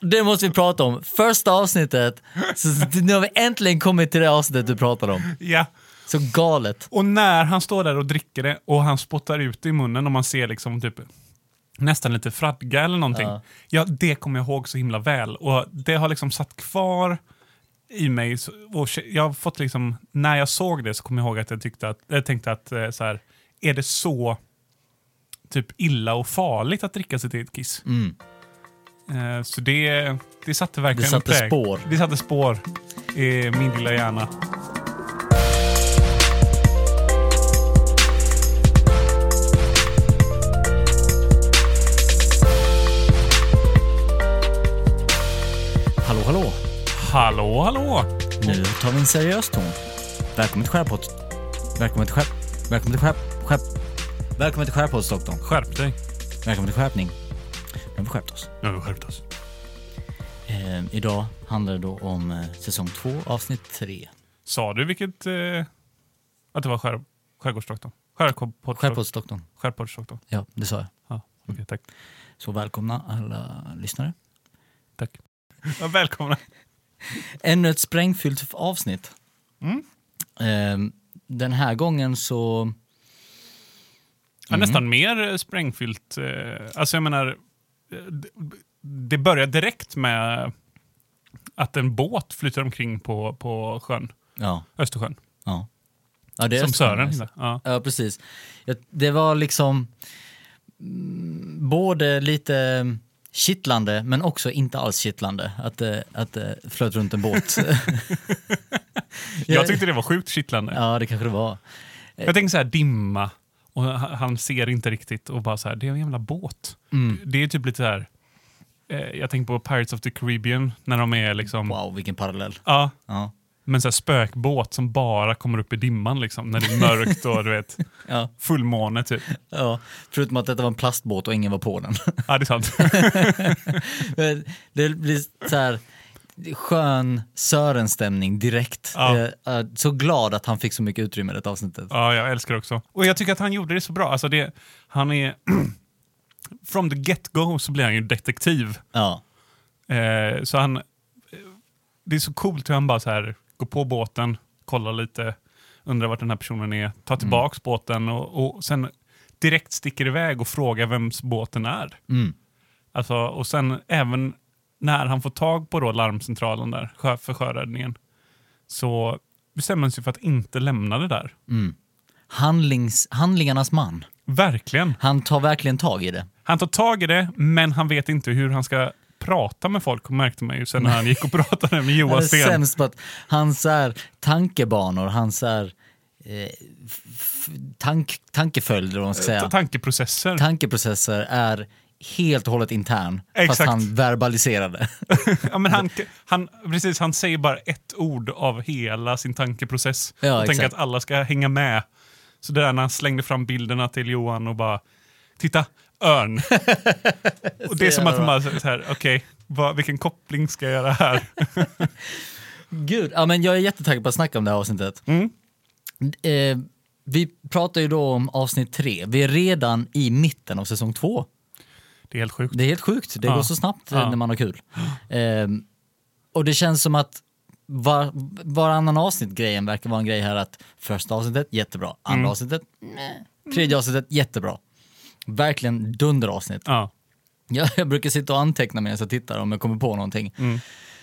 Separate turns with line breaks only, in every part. det måste vi prata om. Första avsnittet, så nu har vi äntligen kommit till det avsnittet du pratar om.
Ja.
Så galet.
Och när han står där och dricker det och han spottar ut det i munnen och man ser liksom typ nästan lite fradga eller någonting.
Ja.
Ja. det kommer jag ihåg så himla väl och det har liksom satt kvar i mig. så- Och ke- jag har fått liksom, när jag såg det så kommer jag ihåg att jag tyckte att, jag tänkte att eh, så här, är det så typ illa och farligt att dricka sitt eget kiss? Eh, Så det, det satte verkligen
Mm. Det satte
präg.
spår.
Det satte spår i min lilla hjärna.
Hallå, hallå.
Hallå, hallå!
Nu tar vi en seriös ton. Välkommen till Skärpodden. Välkommen till skärp... Välkommen till skärp... skärp. Välkommen till Skärpoddsdoktorn.
Skärp dig.
Välkommen till skärpning. Nu har vi skärpt oss.
Nu har vi skärpt oss.
Eh, idag handlar det då om eh, säsong 2, avsnitt 3.
Sa du vilket... Eh, att det var skär, skärgårdsdoktorn? Skärgårdspoddoktorn?
Skärpoddsdoktorn.
Skärgårdsdoktorn.
Ja, det sa jag.
Ja, okej, tack.
Så välkomna alla lyssnare.
tack. Ja, välkomna.
Ännu ett sprängfyllt avsnitt.
Mm.
Ehm, den här gången så...
Ja, nästan mer eh, sprängfyllt. Eh, alltså jag menar, eh, d- det börjar direkt med att en båt flyter omkring på, på sjön,
Ja.
Östersjön.
ja. ja det är
Som
Östersjön,
Sören.
alltså.
Ja.
Ja, precis. Jag- Det var liksom mm, både lite kittlande men också inte alls kittlande att det att det flöt runt en båt.
Jag tyckte det var sjukt kittlande.
Ja, det kanske det var. Eh,
Jag tänker så här dimma och han han ser inte riktigt och bara så här, det är en jävla båt.
Mm.
Det är typ lite så här, eh, jag tänker på Pirates of the Caribbean när de är liksom,
Wow, vilken parallell.
ja,
Ja.
men så här spökbåt som bara kommer upp i dimman liksom när det är mörkt och du vet,
Ja,
fullmåne typ.
ja. Förutom att detta var en plastbåt och ingen var på den.
Ja, det är sant.
Men det blir så här skön Sören-stämning direkt.
Ja.
Eh, eh, Så glad att han fick så mycket utrymme i det avsnittet.
Ja, jag älskar det också. Och jag tycker att han gjorde det så bra. Alltså det, han är, from the get-go så blir han ju detektiv.
Ja,
Eh, så han, eh, det är så coolt hur han bara så här går på båten, kollar lite, undrar vart den här personen är, tar tillbaks båten och, och sen direkt sticker iväg och frågar vems båten är.
Mm.
Alltså, och sen även när han får tag på då larmcentralen där, sjö, för sjöräddningen, så bestämmer han sig för att inte lämna det där.
Handlings, handlingarnas man.
Verkligen.
Han tar verkligen tag i det.
Han tar tag i det, men han vet inte hur han ska prata med folk, märkte man ju sen när han gick och pratade med Johan
Han är
Sten.
sämst på att hans så här, tankebanor, hans så här, eh, f- f- tank, tankeföljd, eller vad
Eh,
man ska säga,
tankeprocesser.
tankeprocesser är helt och hållet intern. Fast
Exakt.
han verbaliserade.
ja, men han, han, precis, han säger bara ett ord av hela sin tankeprocess.
Ja,
och tänker
exakt.
att alla ska hänga med. Så det där när han slängde fram bilderna till Johan och bara, titta, örn. och det är som att man bara, så här, okej, vad- vilken koppling ska jag göra här?
Gud, ja, men jag är jättetaggad på att snacka om det här avsnittet. Eh, vi pratar ju då om avsnitt tre. Vi är redan i mitten av säsong två.
Det är helt sjukt.
Det är helt sjukt. Det
Ja.
går så snabbt eh,
Ja.
när man har kul. Ehm, och det känns som att var, varannan avsnitt-grejen verkar vara en grej här att första avsnittet, jättebra. Andra
Mm.
avsnittet, nej. Tredje avsnittet, jättebra. Verkligen dunderavsnitt.
Ja.
Jag, jag brukar sitta och anteckna medan jag tittar om jag kommer på någonting
Mm.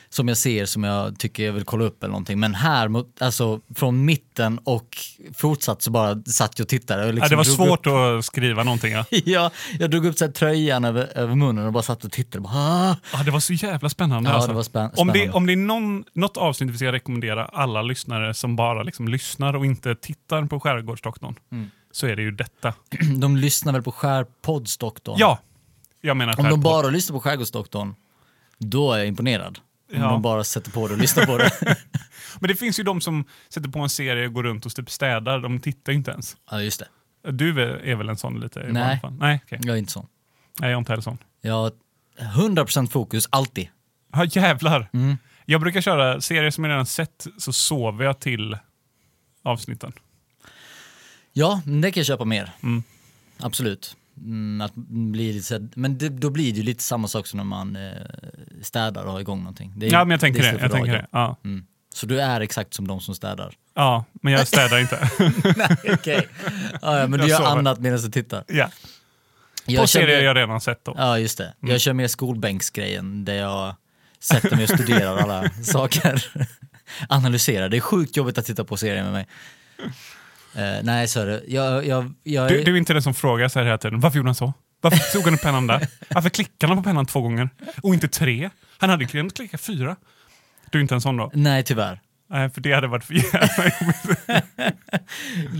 som jag ser som jag tycker jag vill kolla upp eller någonting. Men här, mot, alltså från mitten och fortsatt så bara satt jag och tittade. Och liksom
ja, det var
drog
svårt att skriva någonting. Ja.
Upp, ja, jag drog upp så här tröjan över, över munnen och bara satt och tittade. Bara, ah.
Ja, det var så jävla spännande.
Ja,
alltså.
det var spän-
Om det,
spännande.
om det är någon, något avsnitt vi ska rekommendera alla lyssnare som bara liksom lyssnar och inte tittar på Skärgårdsdoktorn,
Mm.
så är det ju detta.
De lyssnar väl på Skärpoddsdoktorn?
Ja, jag menar
Om de
Skärgård.
bara lyssnar på Skärgårdsdoktorn, då är jag imponerad. Om
Ja.
de bara sätter på det och lyssnar på det.
Men det finns ju de som sätter på en serie och går runt och typ städar, de tittar ju inte ens.
ja, just det.
Du är är väl en sån lite? i
Nej.
alla fall? Nej, okej.
Jag är inte sån.
Nej, jag är inte heller sån.
Jag har 100% fokus, alltid.
Ja, jävlar.
Mm.
Jag brukar köra serier som jag redan sett, så sover jag till avsnitten. Mm.
Ja, men det kan jag köpa mer. Absolut. Mm, att bli lite, så här- men det, då blir det ju lite samma sak som när man eh, städar och har igång någonting. Det är-
Ja, men jag tänker det.
är
Jag tänker
fördragen.
det. Ja.
Mm. Så du är exakt som de som städar?
ja, men jag städar inte.
Okej. Ja, ja, men du
Jag
gör
sover.
annat medan du tittar.
ja.
Jag
På
kör
serier
mer-
jag redan sett då.
Ja, just det.
Mm.
Jag kör mer skolbänksgrejen där jag sätter mig och studerar alla saker. Analyserar. Det är sjukt jobbigt att titta på serier med mig. Eh, nej, så är det. Jag, jag, jag,
Du, du är inte den som frågar så här hela tiden. Varför gjorde han så? Varför tog han upp pennan där? Varför klickade han på pennan två gånger? Och inte tre? Han hade ju kunnat klicka fyra. Du är inte en sån då?
Nej, tyvärr.
Nej, för det hade varit för jävla jobbigt.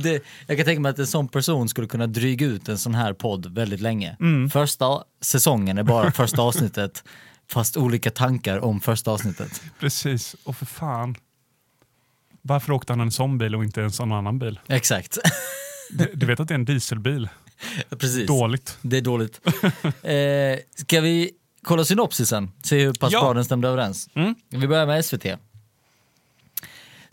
Det, jag kan tänka mig att en sån person skulle kunna dryga ut en sån här podd väldigt länge.
Mm.
Första säsongen är bara första avsnittet, fast olika tankar om första avsnittet.
Precis, och för fan. Varför åkte han en sån bil och inte en sån annan bil?
Exakt,
Du, du vet att det är en dieselbil?
precis.
Dåligt.
Det är dåligt. Eh, ska vi kolla synopsisen? Se hur pass
Ja. Mm.
bra den stämde överens. Vi börjar med SVT.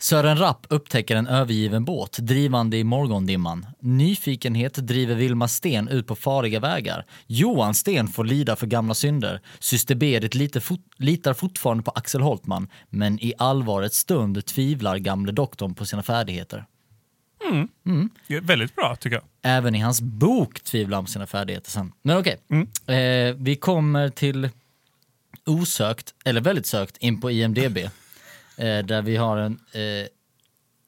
Sören Rapp upptäcker en övergiven båt drivande i morgondimman. Nyfikenhet driver Vilma Sten ut på farliga vägar. Johan Sten får lida för gamla synder. Syster Berit lite fort, litar fortfarande på Axel Holtman men i allvarets stund tvivlar gamle doktorn på sina färdigheter.
Det är Väldigt bra tycker jag.
Även i hans bok tvivlar han på sina färdigheter sen. Men okej,
Mm.
eh, vi kommer till osökt, eller väldigt sökt, in på IMDB. eh, där vi har en, eh,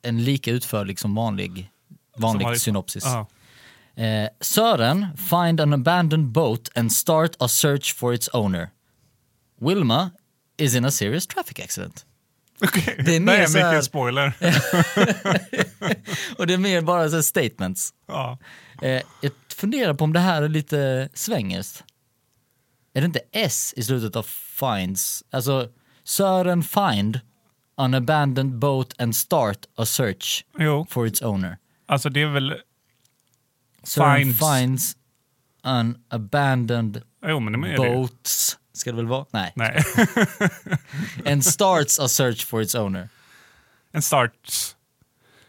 en lika utförlig som vanlig, vanlig
Som har-
synopsis.
Ja.
Eh, Sören, find an abandoned boat and start a search for its owner. Wilma is in a serious traffic accident.
Okej,
Det
det
är
är
mer så
mycket
här-
spoiler.
Och det är mer bara så här statements.
Ja.
Eh, jag funderar på om det här är lite svängerskt. Är det inte S i slutet av finds? Alltså, Sören find an abandoned boat and start a search
Jo,
for its owner.
alltså det är väl...
Sören
Finds.
finds an abandoned
Jo, men det är det ju.
boats. Ska det väl vara? Nej.
Nej.
And starts a search for its owner.
En start.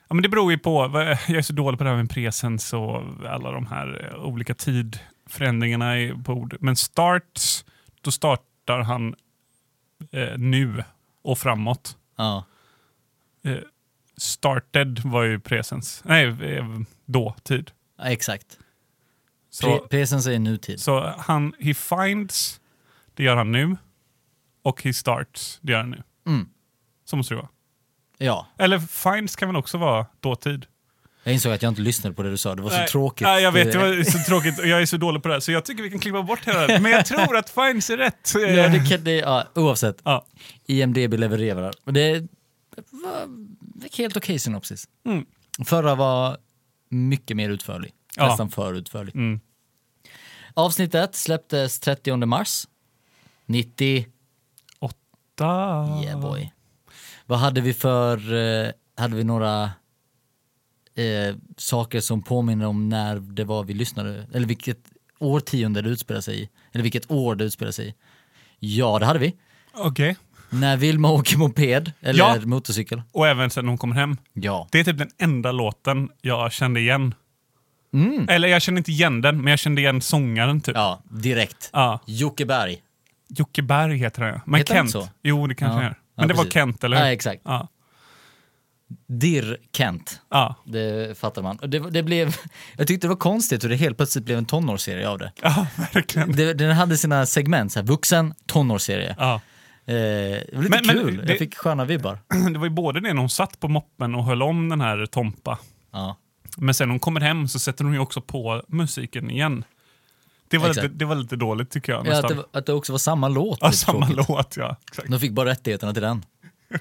Ja, men det beror ju på. vad- Jag är så dålig på det här med presens och alla de här eh, olika tidförändringarna i- på ord. Men starts, då startar han eh, nu och framåt.
Ja,
Eh, started var ju presens. Nej, eh, då, tid.
exakt.
Så,
Pre- Presens är nutid.
så han, he finds, det gör han nu. Och he starts, det gör han nu.
Mm.
Så måste det vara.
Ja,
Eller finds kan väl också vara dåtid?
jag insåg att jag inte lyssnade på det du sa. Det var så
Nej.
tråkigt.
Nej, jag vet, det var så tråkigt och jag är så dålig på det här så jag tycker vi kan klippa bort hela det här. Men jag tror att Fines är rätt.
Ja, det kan, det, ja, oavsett.
Ja.
IMDB levererar. Och det var helt okej synopsis.
Mm.
Förra var mycket mer utförlig.
Ja.
Nästan för utförlig.
Mm.
Avsnittet släpptes 30 mars 90.
Åtta.
Yeah boy. Vad hade vi för, eh, hade vi några eh, saker som påminner om när det var vi lyssnade, eller vilket årtionde det utspelade sig i? Eller vilket år det utspelade sig i? Ja, det hade vi.
Okej.
När Vilma åker moped, eller
Ja.
motorcykel.
Och även sen när hon kommer hem.
Ja.
Det är typ den enda låten jag kände igen. Eller jag kände inte igen den, men jag kände igen sångaren typ.
Mm. Ja, direkt.
Ja.
Jocke Berg.
Jocke Berg heter han ja. Men
Heter han
Kent.
så?
Jo, det kanske
Ja.
han gör.
Ja,
Men det var
precis.
Kent, eller
Ja,
hur?
exakt.
Ja.
Dirr Kent.
Ja.
Det fattar man. Och Det, det blev, jag tyckte det var konstigt hur det helt plötsligt blev en tonårsserie av det.
ja, verkligen.
det den hade sina segment, så här, vuxen, tonårsserie.
Ja.
Eh, det var lite
Men- men
kul,
det-
jag fick sköna vibbar.
Det var ju både det när hon satt på moppen och höll om den här Tompa.
Ja.
Men sen när hon kommer hem så sätter hon ju också på musiken igen. Det var,
Exakt.
lite, det var lite dåligt tycker jag.
Ja, att,
Nästan.
det, att det också var samma låt.
ja,
lite
samma
tråkigt.
låt ja. Exakt.
De fick bara rättigheterna till den.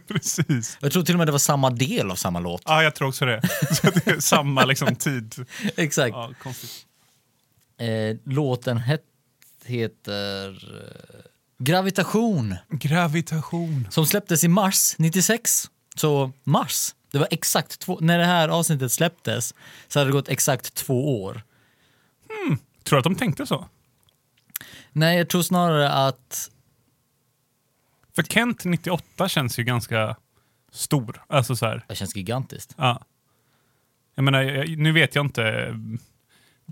Precis.
Jag tror till och med det var samma del av samma låt.
Ja, jag tror också det. Så det är samma liksom tid.
Exakt.
Ja, konstigt.
Eh, låten het, heter eh, Gravitation.
Gravitation.
som släpptes i mars 96. Så mars, det var exakt två, när det här avsnittet släpptes så hade det gått exakt två år.
Tror du att de tänkte så?
Nej, jag tror snarare att,
För Kent 98 känns ju ganska stor. Alltså så här.
det känns gigantiskt.
Ja. Jag menar, jag, nu vet jag inte eh,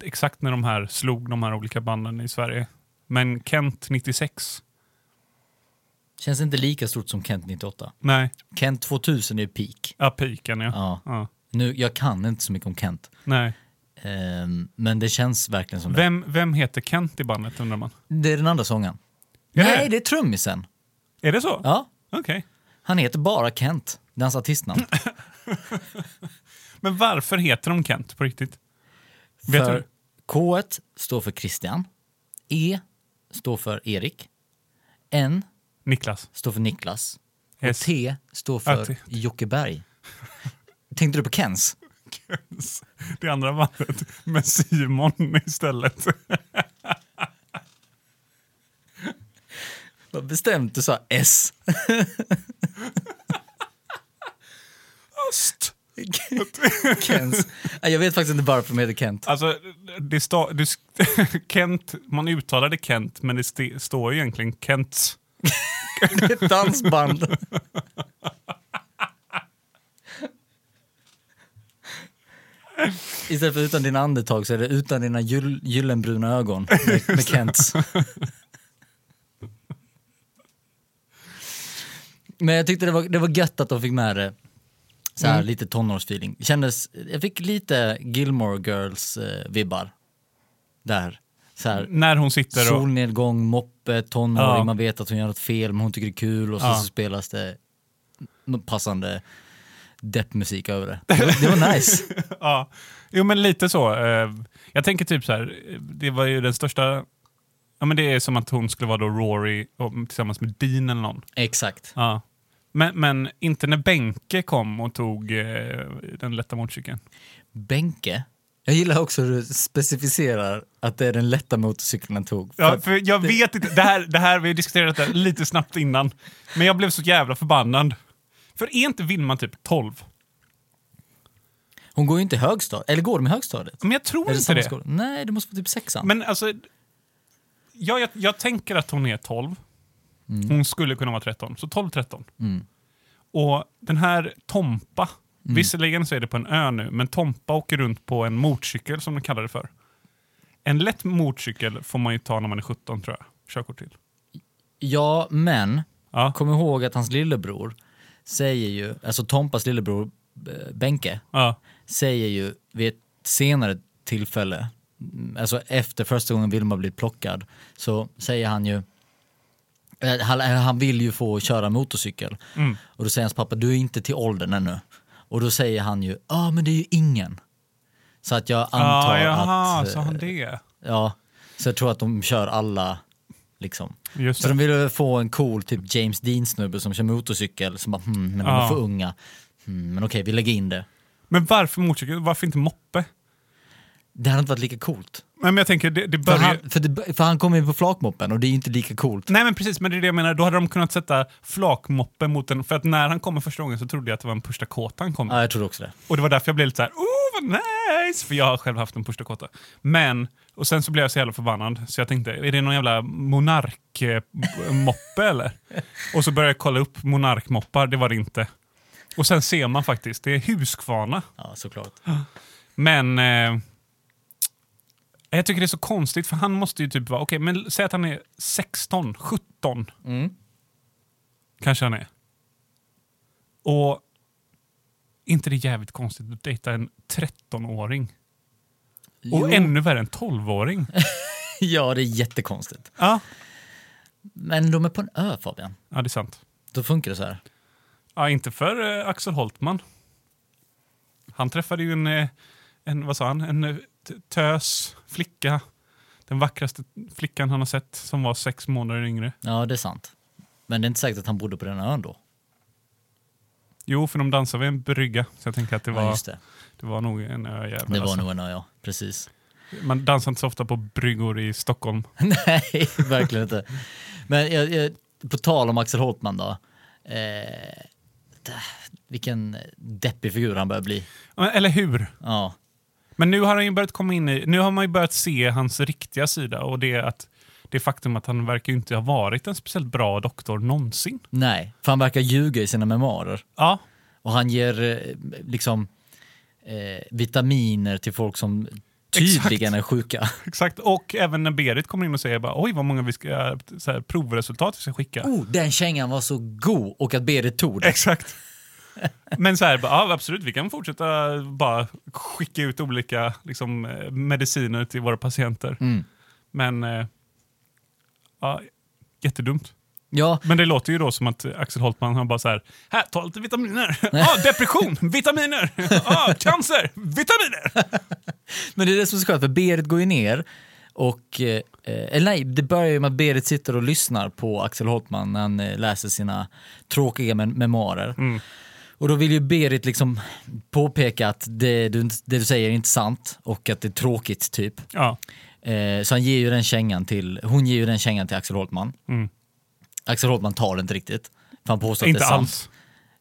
exakt när de här slog de här olika banden i Sverige. Men Kent 96,
Känns inte lika stort som Kent 98.
nej,
Kent 2000 är ju peak.
ja, piken ja.
Ja.
ja.
Nu, jag kan inte så mycket om Kent,
Nej.
Ehm, men det känns verkligen som det.
Vem, vem heter Kent i bandet undrar man?
Det är den andra sången.
Är
Nej,
det?
det är trummisen.
Är det så?
Ja,
Okej.
han heter bara Kent. Det är hans artistnamn.
Men varför heter de Kent på riktigt? Vet
För
du?
K står för Christian. E står för Erik. N
Niklas.
står för Niklas. Och
S.
T står
Ja,
för
T.
Jocke Berg. Tänkte du på Kens?
Det andra bandet med Simon istället.
Vad bestämt du sa S.
Öst.
Kens. Nej, Jag vet faktiskt inte varför de heter Kent.
Alltså, det sta, det, sk- Kent, man uttalade Kent, men det st- står ju egentligen Kent.
Ett dansband. Istället för utan dina andetag så är det utan dina gyll- gyllenbruna ögon med, med Kents. Men jag tyckte det var, det var gött att de fick med det. Så här, lite tonårsfeeling. Kändes, jag fick lite Gilmore Girls-vibbar. där. Så här,
När hon sitter och...
Solnedgång, moppe, tonåring,
Ja.
man vet att hon gör något fel men hon tycker det är kul och sen
Ja.
så spelas det någon passande deppmusik över det. Det var, det var nice.
Ja. Jo, men lite så. eh, Jag tänker typ så här, eh, det var ju den största... Ja, men det är som att hon skulle vara då Rory och, tillsammans med Dean eller någon.
Exakt.
Ja. Men, men inte när Benke kom och tog eh, den lätta motorcykeln.
Benke. Jag gillar också hur du specificerar att det är den lätta motorcykeln han tog. För
Ja,
att-
för jag vet inte, det här, det här, vi har diskuterat det här lite snabbt innan, men jag blev så jävla förbannad. För är inte Vilma typ 12?
Hon går ju inte i högstadiet, eller går de i högstadiet?
Men jag tror
Är det
inte
samma
det.
skola? Nej, det måste vara typ sexan.
Men alltså, ja, jag, jag tänker att hon är 12. Hon skulle kunna vara 13, så 12-13.
Mm.
Och den här Tompa, visserligen så är det på en ö nu, men Tompa åker runt på en motorcykel som de kallar det för. En lätt motorcykel får man ju ta när man är 17 tror jag, körkort till.
Ja, men
Ja,
kom ihåg att hans lillebror säger ju, alltså Tompas lillebror eh, Benke,
ja,
säger ju vid ett senare tillfälle, mm, alltså efter första gången Vilma blir plockad, så säger han ju eh, han, han vill ju få köra motorcykel.
Mm.
Och då säger hans pappa, du är inte till åldern ännu. Och då säger han ju, ja men det är ju ingen. Så att jag antar
ah, jaha,
att... eh,
sa han det?
Ja, så jag tror att de kör alla liksom.
Just
Så
det.
de ville få en cool typ James Dean-snubbe som kör motorcykel som bara, hmm, men de är
Ja.
för unga. Hmm, men okej, vi lägger in det.
Men varför motorcykel? Varför inte moppe?
Det hade inte varit lika coolt.
Nej, men jag tänker, det, det
För
börjar...
han, för, det, för han kom in på flakmoppen och det är ju inte lika coolt.
Nej men precis, men det är det jag menar. Då hade de kunnat sätta flakmoppe mot en... För att när han kommer första gången så trodde jag att det var en Pushta Kåta han kom med.
Ja, jag tror också det.
Och det var därför jag blev lite så här: oh vad nice! För jag har själv haft en Pushta Kåta. Men, och sen så blev jag så jävla förbannad så jag tänkte, är det någon jävla monarkmoppe eller? Och så började jag kolla upp monarkmoppar, det var det inte. Och sen ser man faktiskt, det är Huskvarna.
Ja, såklart.
Men eh, jag tycker det är så konstigt för han måste ju typ vara, okej men säg att han är 16, 17.
Mm.
Kanske han är. Och är inte det jävligt konstigt att dejta en 13-åring?
Jo.
Och ännu värre en 12-åring.
Ja, det är jättekonstigt.
ja.
Men de är på en ö, Fabian.
ja, det är sant.
Då funkar det så här.
Ja, inte för eh, Axel Holtman. Han träffade ju en, eh, en vad sa han, en eh, t- tös flicka. Den vackraste flickan han har sett som var sex månader yngre.
Ja, det är sant. Men det är inte säkert att han bodde på den ön då.
Jo, för de dansade vid en brygga. Så jag tänker att det var,
Ja, just
det.
det.
var nog en öjävel.
Det var
alltså.
nog en ö, ja. Precis.
Man dansar inte så ofta på bryggor i Stockholm.
Nej, verkligen inte. Men jag, jag, på tal om Axel Holtman då. Eh, det- vilken deppig figur han börjar bli.
Men- Eller hur?
Ja,
Men nu har han ju börjat komma in i, nu har man ju börjat se hans riktiga sida och det är att det faktum att han verkar ju inte ha varit en speciellt bra doktor någonsin.
nej. För han verkar ljuga i sina memoarer.
Ja,
Och han ger eh, liksom eh, vitaminer till folk som tydligen är sjuka.
Exakt, och även när Berit kommer in och säger bara, oj vad många vi ska, så här, provresultat vi ska skicka.
Oh, den kängan var så god och att Berit tog den.
Exakt. Men så här, bara, ja, absolut, vi kan fortsätta bara skicka ut olika liksom, eh, mediciner till våra patienter.
Mm.
Men, eh, ja, jättedumt.
Ja,
Men det låter ju då som att Axel Holtman har bara så här, här, ta lite vitaminer. Ah, depression, vitaminer. Ah, cancer, vitaminer.
men det är det som är så skönt för Berit går ju ner och, eh, eller nej, det börjar ju med att Berit sitter och lyssnar på Axel Holtman när han eh, läser sina tråkiga mem- memoarer. Och då vill ju Berit liksom påpeka att det du, det du säger är inte sant och att det är tråkigt typ.
Ja,
Eh, så han ger ju den kängan till, hon ger ju den kängan till Axel Holtman.
Mm.
Axel Holtman tar det inte riktigt. För han påstår
inte
att det är sant.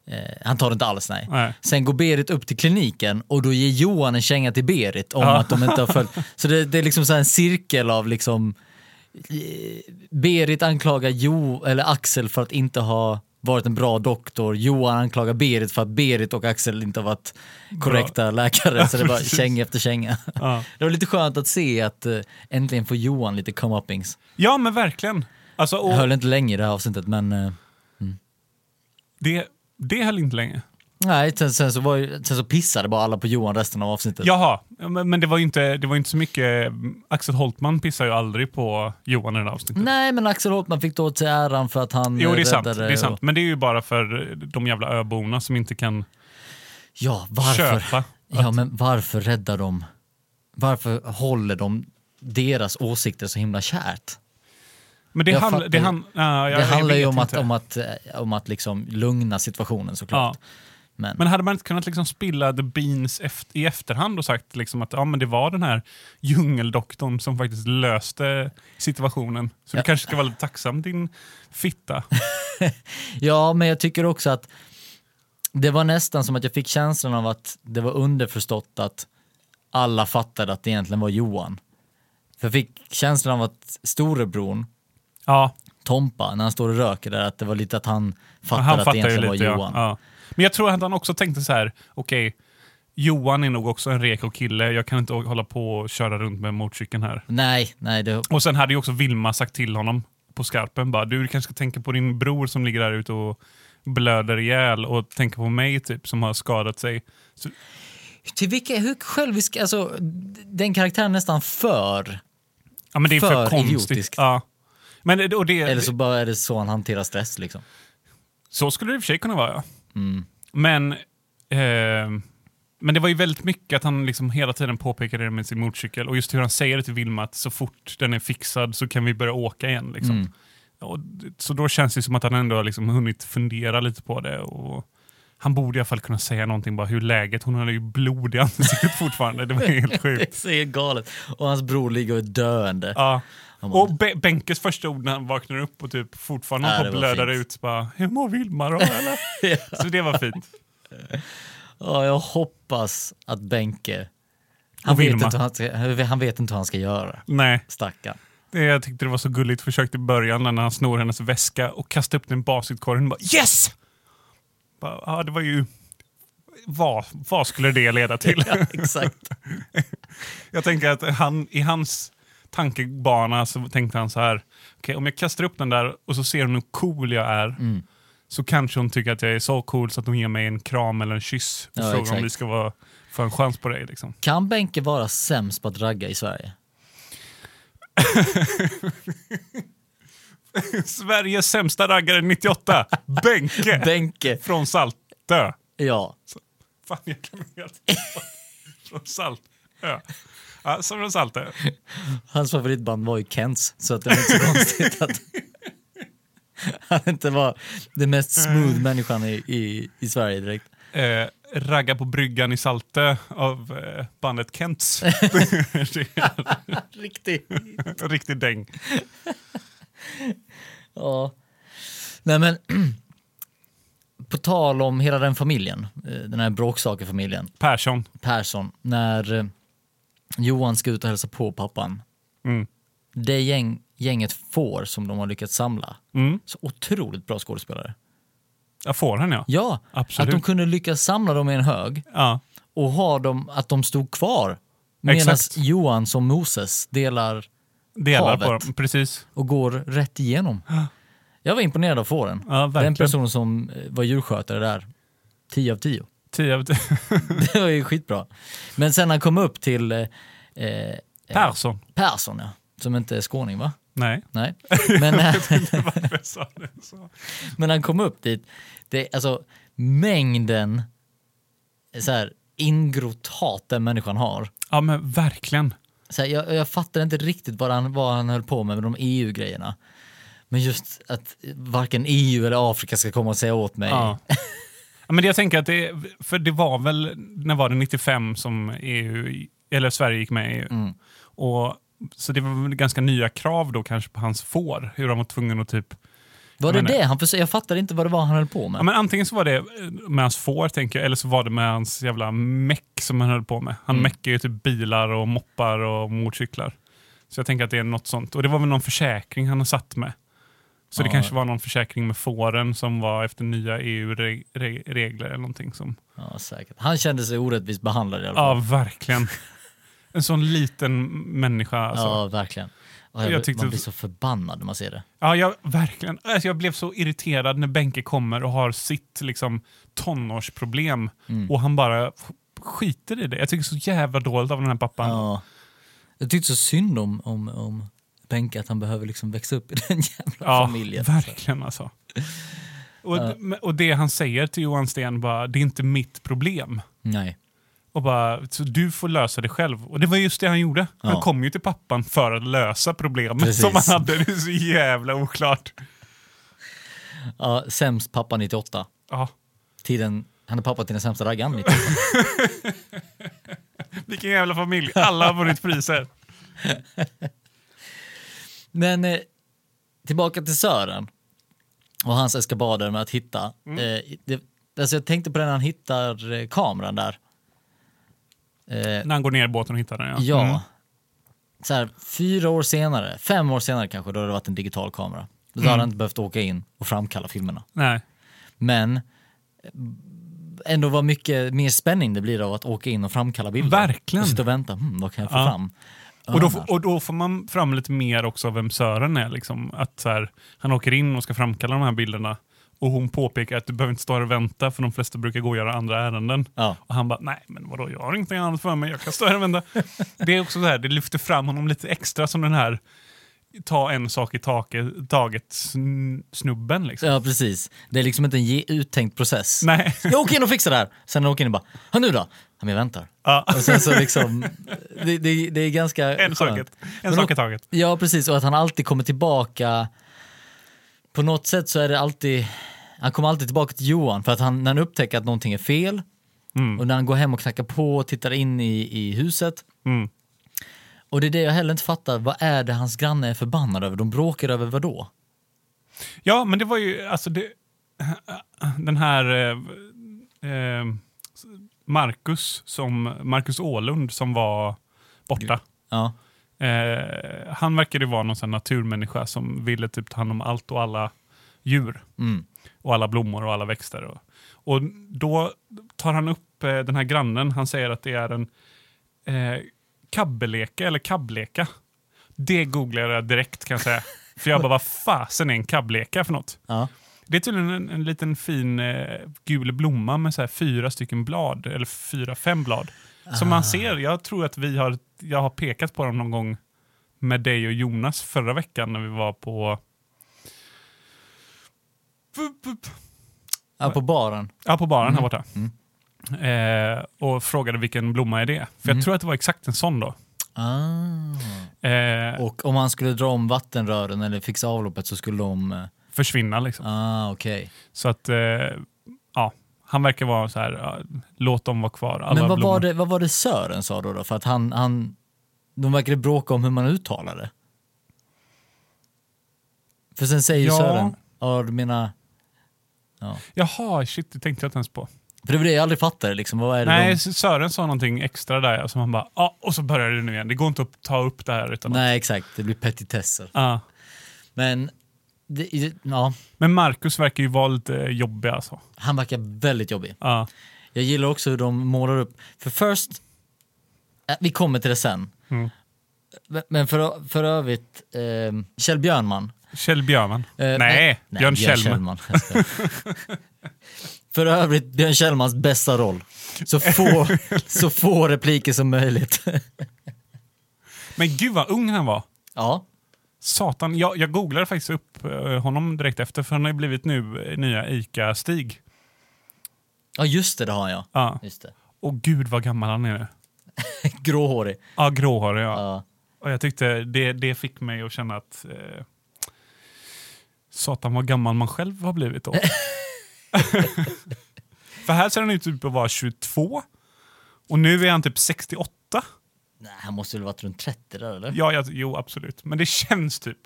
alls.
Eh, han tar det inte alls nej.
Nej.
Sen går Berit upp till kliniken och då ger Johan en känga till Berit om
Ja.
att de inte har följt. Så det, det är liksom så här en cirkel av liksom eh, Berit anklagar jo, eller Axel för att inte ha varit en bra doktor. Johan anklagar Berit för att Berit och Axel inte har varit korrekta läkare. Så det är bara
precis.
känga efter känga.
Ja.
Det var lite skönt att se att eh, äntligen får Johan lite come-uppings.
ja, men verkligen. Alltså,
Jag
och
höll inte länge i det här avsnittet men eh,
det, det höll inte länge.
nej, sen, sen, så var, ju- sen så pissade bara alla på Johan resten av avsnittet.
Jaha, men, men det var ju inte, det var ju inte så mycket. eh, Axel Holtman pissar ju aldrig på Johan i det här avsnittet.
Nej, men Axel Holtman fick då åt sig äran för att han
Jo, det är,
eh,
sant,
räddade-
det är sant. Men det är ju bara för de jävla öborna som inte kan
Ja, varför?
köpa.
Ja, men varför räddar de? Varför håller de deras åsikter så himla kärt?
Men det,
Jag
handl-
fattar
det,
ju.
han, ja, jag,
det
jag
handlar ju
vet
om att,
inte.
om att, eh, om att liksom lugna situationen såklart.
Ja.
Men,
Men hade man inte kunnat liksom spilla the beans eft- i efterhand och sagt liksom att ja, men det var den här djungeldoktorn som faktiskt löste situationen? Så
Ja.
du kanske ska vara lite tacksam din fitta.
ja, men jag tycker också att det var nästan som att jag fick känslan av att det var underförstått att alla fattade att det egentligen var Johan. För jag fick känslan av att storebror
Ja,
Tompa, när han står och röker där, att det var lite att han fattade
han
att det
fattar ju
egentligen
lite.
var
Ja,
Johan.
ja. Men jag tror att han också tänkte så här, okej, Johan är nog också en reko kille, jag kan inte hålla på och köra runt med motorcykeln här.
Nej, nej, det,
Och sen hade ju också Vilma sagt till honom på skarpen bara, du kanske ska tänka på din bror som ligger där ute och blöder ihjäl och tänka på mig typ som har skadat sig. Så,
till vilka, hur självisk, alltså d- den karaktären är nästan för,
ja, men det är för,
För
konstigt.
idiotiskt.
Ja. Men det- och det,
eller så bara är det så han hanterar stress liksom.
Så skulle det i och för sig kunna vara, ja.
Mm.
Men, eh, men det var ju väldigt mycket att han liksom hela tiden påpekade det med sin motorcykel och just hur han säger det till Vilma att så fort den är fixad så kan vi börja åka igen. Liksom.
Mm.
Och, d- så då känns det som att han ändå har liksom hunnit fundera lite på det. Och han borde i alla fall kunna säga någonting bara hur läget, hon hade ju blod i ansiktet fortfarande. Det var ju helt sjukt.
Det är så helt galet. Och hans bror ligger och är döende.
Ja.
Han bara,
Och Be- Benkes första ord när han vaknar upp och typ fortfarande
Ja,
ja,
Äh, det var
blödar
fint.
ut bara, hur mår Vilma då eller? Så det var fint.
ja, jag hoppas att Benke, han
Och
vet,
Vilma.
inte hur han, ska, han vet inte hur han ska göra.
Nej.
Stackarn.
Det, jag tyckte det var så gulligt försök i början när han snor hennes väska och kastar upp den i basutkorgen och bara yes! Bara, ja, det var ju... Vad, vad skulle det leda till?
Ja, exakt.
jag tänker att han, i hans tankebana så tänkte han så här, okej om jag kastar upp den där och så ser hon hur cool jag är
Mm.
så kanske hon tycker att jag är så cool så att hon ger mig en kram eller en kyss
Ja,
och frågar
exakt.
om vi ska vara, få en chans på dig. Liksom.
Kan Benke vara sämst på att ragga i Sverige?
Sveriges sämsta raggare 98, Benke
Benke,
från Saltö.
ja.
Fan, jag kan inte Från Saltö. Ja, som från eh. Saltö.
Hans favoritband var ju Kents, så att det var inte så konstigt att han inte var den mest smooth människan i, i, i Sverige direkt.
Eh, ragga på bryggan i Saltö av eh, bandet Kents. Det är
Riktigt.
en Riktig däng.
Ja. Nej men, på tal om hela den familjen, eh, den här bråksakerfamiljen,
Persson.
Persson, när eh, Johan ska ut och hälsa på pappan.
Mm.
Det gäng, gänget får som de har lyckats samla,
Mm.
så otroligt bra skådespelare.
Jag får han ja.
Ja,
Absolut.
att de kunde lyckas samla dem i en hög.
ja.
och ha dem, att de stod kvar Medan
Exakt.
Johan som Moses delar
Delar på
Havet.
dem, precis.
och går rätt igenom. Jag var imponerad av fåren.
Ja,
Den
verkligen.
personen som eh, var djurskötare där, 10 av 10.
Tio av tio.
Det var ju skitbra. Men sen när han kom upp till eh, eh,
Persson.
Persson, ja, som inte är skåning va?
Nej.
Nej. Men, när-
Varför sa du så?
men han kom upp dit, det, alltså mängden eh, så här, ingrott hat den människan har.
Ja, men verkligen.
Så här, jag, jag fattar inte riktigt vad han, vad han höll på med, med de EU-grejerna. Men just att varken EU eller Afrika ska komma och säga åt mig.
Ja. Ja, men jag tänker att det, för det var väl, när var det 95 som EU, eller Sverige gick med i EU? Och, så det var väl ganska nya krav då kanske på hans får, hur han var tvungen att typ
var det
men-
det han försökte? Jag fattar inte vad det var han höll på med.
Ja, men antingen så var det eh, med hans får, tänker jag, eller så var det med hans jävla meck som han höll på med. Han meckar ju typ bilar och moppar och motorcyklar. Så jag tänker att det är något sånt. Och det var väl någon försäkring han har satt med. Så det
Ja.
kanske var någon försäkring med fåren som var efter nya E EU-regler eller någonting. Som...
Ja, säkert. Han kände sig orättvist behandlad i alla
Ja,
fall.
verkligen. En sån liten människa. Alltså. Ja.
Ja, verkligen. Och jag,
Jag tyckte-
man blir så förbannad när man ser det.
jag, verkligen. Alltså, jag blev så irriterad när Benke kommer och har sitt liksom, tonårsproblem
Mm.
och han bara sk- skiter i det. Jag tycker så jävla dåligt av den här pappan.
Ja. Jag tyckte så synd om, om, om Benke, att han behöver liksom växa upp i den jävla
Ja,
familjen.
verkligen alltså. Och, och det han säger till Johan Sten bara, det är inte mitt problem.
Nej.
Och bara, så du får lösa det själv. Och det var just det han gjorde.
Ja.
Han kom ju till pappan för att lösa problemet
Precis.
som han hade. Det är så jävla oklart.
Ja, sämst pappa 98.
Ja.
Tiden, han är pappa till den sämsta raggaren 98.
Vilken jävla familj. Alla har vunnit priser.
Men eh, tillbaka till Sören och hans eskabader med att hitta.
Mm.
Eh, det, alltså jag tänkte på det när han hittar eh, kameran där. Eh,
När han går ner i båten och hittar den. Ja.
Ja.
Mm.
Så här, fyra år senare, fem år senare kanske, då hade det varit en digital kamera. Då
Mm.
hade han inte behövt åka in och framkalla filmerna.
Nej.
Men eh, ändå var mycket mer spänning det blir av att åka in och framkalla bilder.
Verkligen.
Och sitta och vänta, hmm, vad kan jag få
Ja.
fram?
Och, då,
Örnar.
och då får man fram lite mer också av vem Sören är. Liksom. Att så här, han åker in och ska framkalla de här bilderna. Och hon påpekar att du behöver inte stå här och vänta för de flesta brukar gå och göra andra ärenden.
Ja.
Och han bara, nej men vadå, jag har ingenting annat för mig, jag kan stå här och vänta. det är också så här, det lyfter fram honom lite extra som den här ta en sak i taket, taget sn- snubben liksom.
ja, precis. Det är liksom inte en ge- uttänkt process.
Nej.
Jag åker in och fixar det här. Sen åker jag in och bara, "Ja, nu då? Ja, men jag väntar.
Ja.
Och sen så liksom, det, det, det är ganska
En sak,
skönt.
i- en sak i taget.
Ja, precis. Och att han alltid kommer tillbaka. På något sätt så är det alltid... Han kommer alltid tillbaka till Johan för att han, när han upptäcker att någonting är fel och när han går hem och knackar på och tittar in i, i huset.
Mm.
Och det är det jag heller inte fattar. Vad är det hans granne är förbannad över? De bråkar över vad då?
Ja, men det var ju alltså det, den här eh, eh, Marcus, som, Marcus Ålund som var borta.
Ja,
Eh, han verkade ju vara någon sån här naturmänniska som ville typ ta hand om allt och alla djur.
mm.
Och alla blommor och alla växter. Och, och då tar han upp eh, den här grannen, han säger att det är en eh, kabbeleka eller kabbleka. Det googlade jag direkt kan jag säga. För jag bara, vad fasen är en kabbleka för något?
ja.
Det är tydligen en, en liten fin eh, gul blomma med så här fyra stycken blad, eller fyra, fem blad. Som
Ah.
man ser, jag tror att vi har, jag har pekat på dem någon gång med dig och Jonas förra veckan när vi var på...
ja på baren.
Ja, på baren
Mm.
här borta. Eh, och frågade vilken blomma är det? För
Mm.
jag tror att det var exakt en sån då.
Ah.
Eh,
Och om han skulle dra om vattenrören eller fixa avloppet så skulle de... eh,
försvinna liksom.
Ah, okej.
Så att, eh, ja. Han verkar vara så här, ja, låt dem vara kvar. Alla
Men vad
blommor.
var, det, vad var det Sören sa då? då? För att han, han, de verkade bråka om hur man uttalar det. För sen säger ju
Ja.
Sören, ja du menar...
Jaha, shit, det tänkte jag inte ens på.
För det var det jag aldrig fattade liksom, vad är det
Nej,
de...
S- Sören sa någonting extra där, som han bara, ja, och så börjar det nu igen. Det går inte att ta upp det här utan att...
Nej exakt, det blir petitesser.
Ja.
Men, det, ja,
Men Marcus verkar ju vara lite jobbig alltså.
han verkar väldigt jobbig.
Ja.
Jag gillar också hur de målar upp, för först Äh, Vi kommer till det sen.
Mm.
Men- Men för, ö- för övrigt, eh, Kjell Björnman.
Kjell Björman?
Eh,
nej, Björn Kjellman.
Jag skojar. för övrigt, Björn Kjellmans bästa roll. Så få, så få repliker som möjligt.
Men gud vad ung han var.
ja,
Satan, jag, jag googlade faktiskt upp eh, honom direkt efter för han har ju blivit nu eh, nya ICA-Stig.
ja, just det, det har jag.
Ja.
Just det.
Och gud vad gammal han är nu.
Gråhårig.
Ja, gråhårig ja.
Ja.
Och jag tyckte det, det fick mig att känna att eh, satan vad gammal man själv har blivit då. för här ser han ut typ att vara 22 och nu är han typ 68.
Nej, han måste väl varit runt 30 där eller?
Ja, jag, jo absolut, men det känns typ.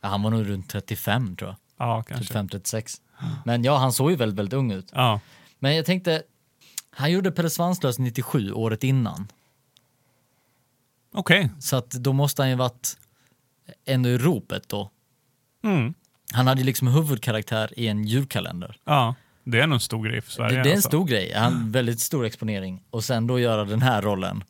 Ja, han var nog runt 35 tror jag.
Ja,
Typ.
kanske.
35-36. Men ja, han såg ju väldigt, väldigt ung ut.
Ja.
Men jag tänkte, han gjorde Pelle Svanslös 97, året innan.
Okej.
Så att då måste han ju varit ännu i ropet då.
Mm.
Han hade ju liksom en huvudkaraktär i en julkalender.
Ja, det är nog en stor grej för Sverige.
Det, det är en
alltså.
stor grej, han väldigt stor exponering. Och sen då göra den här rollen.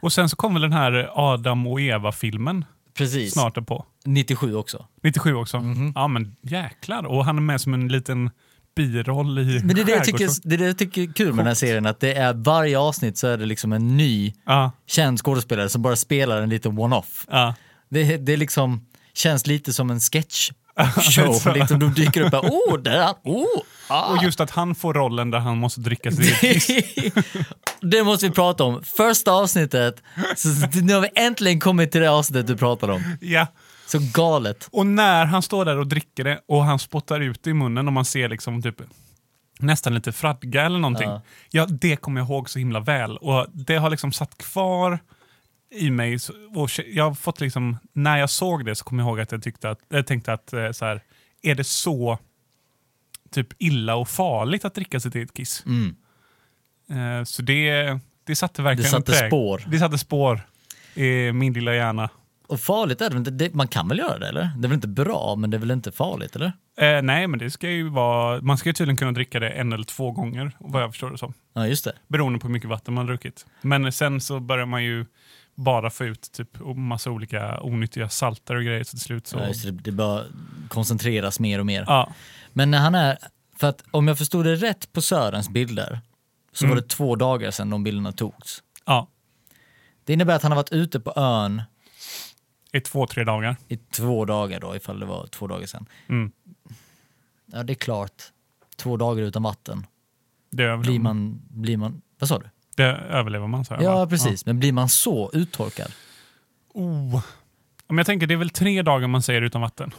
Och sen så kom väl den här Adam och Eva-filmen
Precis, Mhm.
snart därpå.
97 också.
97 också. Ja men jäklar. Och han är med som en liten biroll i
Men det är det, jag tycker,
Skärgårds-
det är det jag tycker är kul med den här serien, att det är varje avsnitt så är det liksom en ny
Ja,
känd skådespelare som bara spelar en liten one-off.
ja.
Det, det liksom känns lite som en
Så.
sketchshow. liksom, de dyker upp och åh, där är han, åh, ah.
Och just att han får rollen där han måste dricka sig
Det måste vi prata om. Första avsnittet, så nu har vi äntligen kommit till det avsnittet du pratade om.
Ja.
Så galet.
Och när han står där och dricker det och han spottar ut det i munnen och man ser liksom typ nästan lite fradga eller någonting.
Ja.
Ja. det kommer jag ihåg så himla väl. Och det har liksom satt kvar i mig. så- Och ke- jag har fått liksom, när jag såg det så kommer jag ihåg att jag, tyckte att, jag tänkte att eh, så här, är det så typ illa och farligt att dricka sitt eget kiss?
Mm.
Eh, Så det, det satte verkligen
Det satte
präg-
spår.
Det satte spår i min lilla hjärna.
Och farligt är det väl inte? Det- Man kan väl göra det eller? Det är väl inte bra, men det är väl inte farligt eller?
Eh, nej, men det ska ju vara... Man ska ju tydligen kunna dricka det en eller två gånger, vad jag förstår det som.
Ja, just det.
Beroende på hur mycket vatten man har druckit. Men sen så börjar man ju bara få ut typ massa olika onyttiga salter och grejer så till slut så...
Ja, just det. det bara koncentreras mer och mer.
Ja,
Men när han är, för att om jag förstod det rätt på Sörens bilder, så
Mm.
var det två dagar sedan de bilderna togs.
ja,
Det innebär att han har varit ute på ön
i två, tre dagar.
i två dagar då, ifall det var två dagar sedan.
Mm.
Ja, det är klart. Två dagar utan vatten.
Det
Blir
överlever man.
man, blir man, vad sa du?
Det överlever man, så här,
Ja,
va?
precis. Men blir man så uttorkad?
Ja. Oh. Ja, Men jag tänker, det är väl tre dagar man säger utan vatten?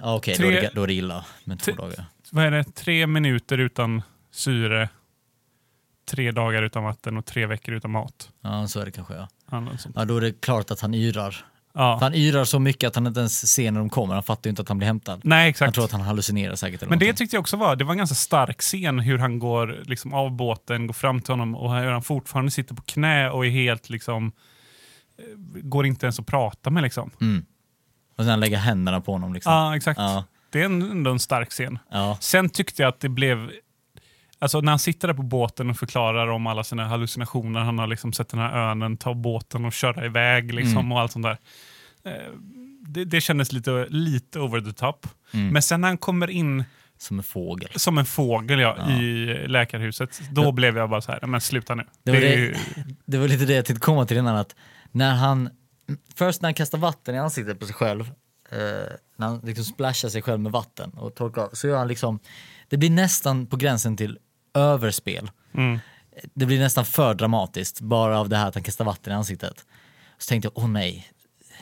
Ja, okej, då, är
Tre-
det- då är det illa med två
Tre-
dagar.
vad är det, tre minuter utan syre, tre dagar utan vatten och tre veckor utan mat.
Ja, så är det kanske. Ja.
Eller något sånt.
ja, då är det klart att han yrar. För
Ja.
Han yrar så mycket att han inte ens ser när de kommer. Han fattar ju inte att han blir hämtad.
Nej,
Han
exakt.
tror att han hallucinerar säkert. Eller
Men det
någonting.
tyckte jag också var, det var en ganska stark scen hur han går liksom, av båten, går fram till honom och hur han fortfarande sitter på knä och är helt liksom, eh, går inte ens att prata med liksom.
Mm. Och sen lägga händerna på honom liksom.
Ja, exakt.
Ja.
Det är en- ändå en stark scen.
Ja.
Sen tyckte jag att det blev... Alltså när han sitter där på båten och förklarar om alla sina hallucinationer, han har liksom sett den här önen ta båten och köra iväg liksom
Mm.
och allt sånt där. Eh, Det, det kändes lite, lite over the top.
Mm.
Men sen när han kommer in
Som en fågel.
som en fågel ja,
Ja.
i läkarhuset, då blev jag bara så här, "Nej, men sluta nu.
Det var
Det är
det-
ju-
Det var lite det jag tänkte komma till innan. Att när han, först när han kastar vatten i ansiktet på sig själv, eh, när han liksom splashar sig själv med vatten och torkar av, så gör han liksom, det blir nästan på gränsen till överspel.
Mm.
Det blir nästan för dramatiskt bara av det här att han kastar vatten i ansiktet. Så tänkte jag, åh nej,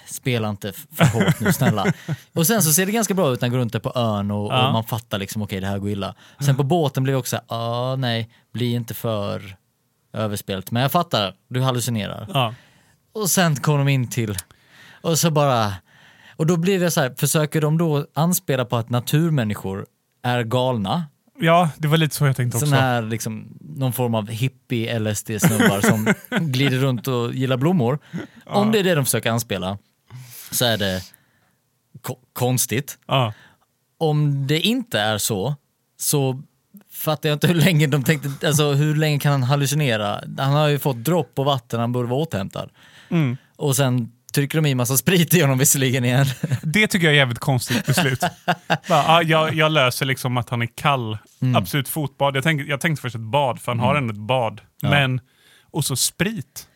spela inte f- för hårt nu snälla. och sen så ser det ganska bra ut när han går runt där på ön och,
Ja.
och man fattar liksom, okej det här går illa. Sen på båten blev jag också såhär, åh nej, bli inte för överspelt. Men jag fattar, du hallucinerar.
Ja.
Och sen kom de in till, och så bara, och då blir det så här, försöker de då anspela på att naturmänniskor är galna?
ja, det var lite så jag tänkte också.
Sån här, liksom, någon form av hippie-LSD-snubbar som glider runt och gillar blommor. Om det är det de försöker anspela så är det ko- konstigt.
Ja.
Om det inte är så, så fattar jag inte hur länge de tänkte, alltså hur länge kan han hallucinera? Han har ju fått dropp på vatten, han borde vara återhämtad.
Mm.
Och sen trycker de i massa sprit i honom visserligen igen.
Det tycker jag är jävligt konstigt beslut. Bara, ja, jag, jag löser liksom att han är kall.
Mm.
Absolut fotbad. Jag tänkte, jag tänkte först ett bad, för han har ändå ett bad. Men, och så sprit.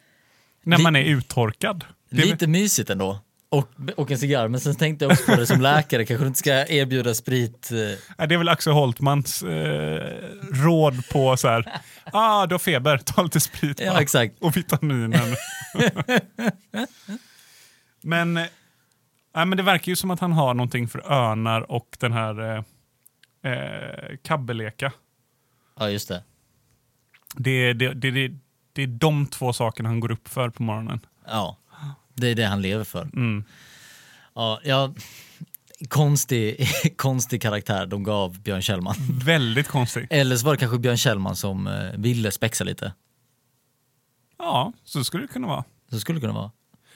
När
Li-
man är uttorkad. Det är väl-
Lite mysigt ändå. Och, och en cigarr, men sen tänkte jag också på det som läkare, kanske du inte ska erbjuda sprit. eh,
Ja, det är väl Axel Holtmans eh, råd på så här, ah, du har feber, ta lite sprit
Ja,
va?
exakt.
och vitaminer. men, eh, ja, men det verkar ju som att han har någonting för örnar och den här eh, eh, kabbeleka.
Ja, just det.
Det, det, det, det, det är de två sakerna han går upp för på morgonen.
Ja, det är det han lever för. Ja, ja, konstig, konstig karaktär de gav Björn Kjellman.
Väldigt konstigt.
Eller så var det kanske Björn Kjellman som eh, ville spexa lite.
Ja, så skulle det kunna vara.
Så skulle det kunna vara.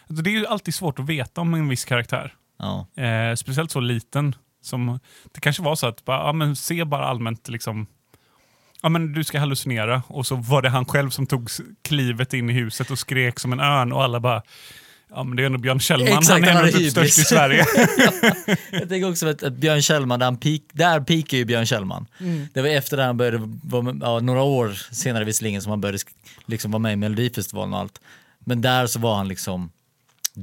Alltså, det är ju alltid svårt att veta om en viss karaktär.
Ja,
Eh, speciellt så liten. Som, det kanske var så att, bara, ja, men se bara allmänt liksom, ja, men du ska hallucinera. Och så var det han själv som tog s- klivet in i huset och skrek som en örn och alla bara, ja men det är ändå Björn Kjellman,
Exakt,
han är
han hade
ändå typ störst i
hybris."
Sverige.
Jag tänker också att, att Björn Kjellman, där, han peak, där peakar ju Björn Kjellman. Det var efter det han började, vara med- ja, några år senare visserligen, som han började sk- liksom vara med i Melodifestivalen och allt. Men där så var han liksom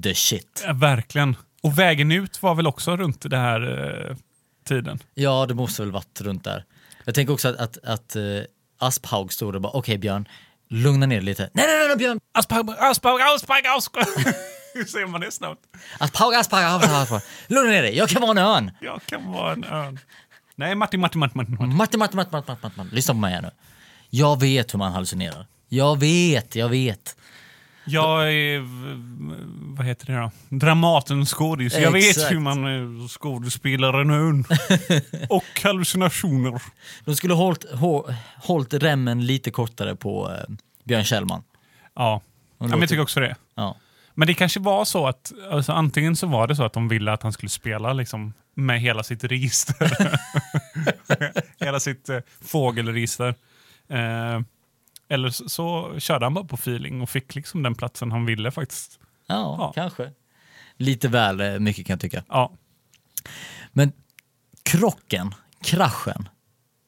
the shit.
ja, verkligen. Och vägen ut var väl också runt det här eh, tiden.
Ja, det måste väl varit runt där. Jag tänker också att, att, att eh, Asphaug stod och bara, okej Björn, lugna ner dig lite. Nej, nej, nej, nej Björn!
Aspaug, Aspaug, Aspaug, Aspaug. Hur säger man det snabbt?
Asphaug, Asphaug, Asphaug, Asphaug. Lugna ner dig, jag kan vara en örn!
Jag kan vara en örn. Nej, Martin, Martin, Martin, Martin. Martin.
Martin, Martin, Martin, Martin, Martin, Martin. lyssna på mig här nu. Jag vet hur man hallucinerar. Jag vet, jag vet.
Jag är, v- vad heter det då? Dramatens skådis. Jag vet
Exakt.
hur man eh, skådespelar en örn. Och hallucinationer.
De skulle hållit, hå, hållit remmen lite kortare på eh, Björn Kjellman.
Ja. ja men jag tycker också det.
Ja.
Men det kanske var så att, alltså, antingen så var det så att de ville att han skulle spela liksom, med hela sitt register. hela sitt eh, fågelregister. Eh, eller så, så körde han bara på feeling och fick liksom den platsen han ville faktiskt.
Ja,
Ja.
kanske. Lite väl eh, mycket kan jag tycka.
Ja,
Men krocken, kraschen,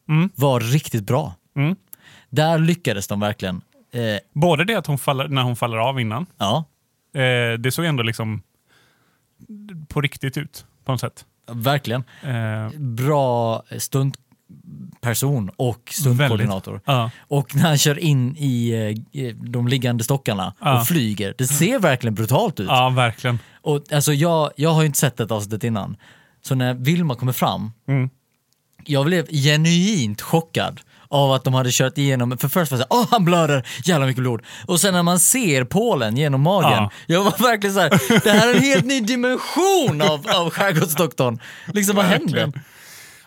Mm.
var riktigt bra.
Mm.
Där lyckades de verkligen. Eh,
Både det att hon faller, när hon faller av innan,
ja,
eh, det såg ändå liksom på riktigt ut på något sätt.
verkligen.
Eh,
Bra stuntperson och stuntkoordinator.
ja.
Och när han kör in i eh, de liggande stockarna
Ja.
och flyger, det ser verkligen brutalt ut.
ja, verkligen.
Och alltså jag, jag har ju inte sett detta avsnittet innan. Så när Vilma kommer fram,
Mm.
jag blev genuint chockad av att de hade kört igenom, för först var det såhär, åh han blöder, jävla mycket blod. Och sen när man ser Polen genom magen,
Ja.
jag var verkligen såhär, det här är en helt ny dimension av, av skärgårdsdoktorn. Liksom vad händer?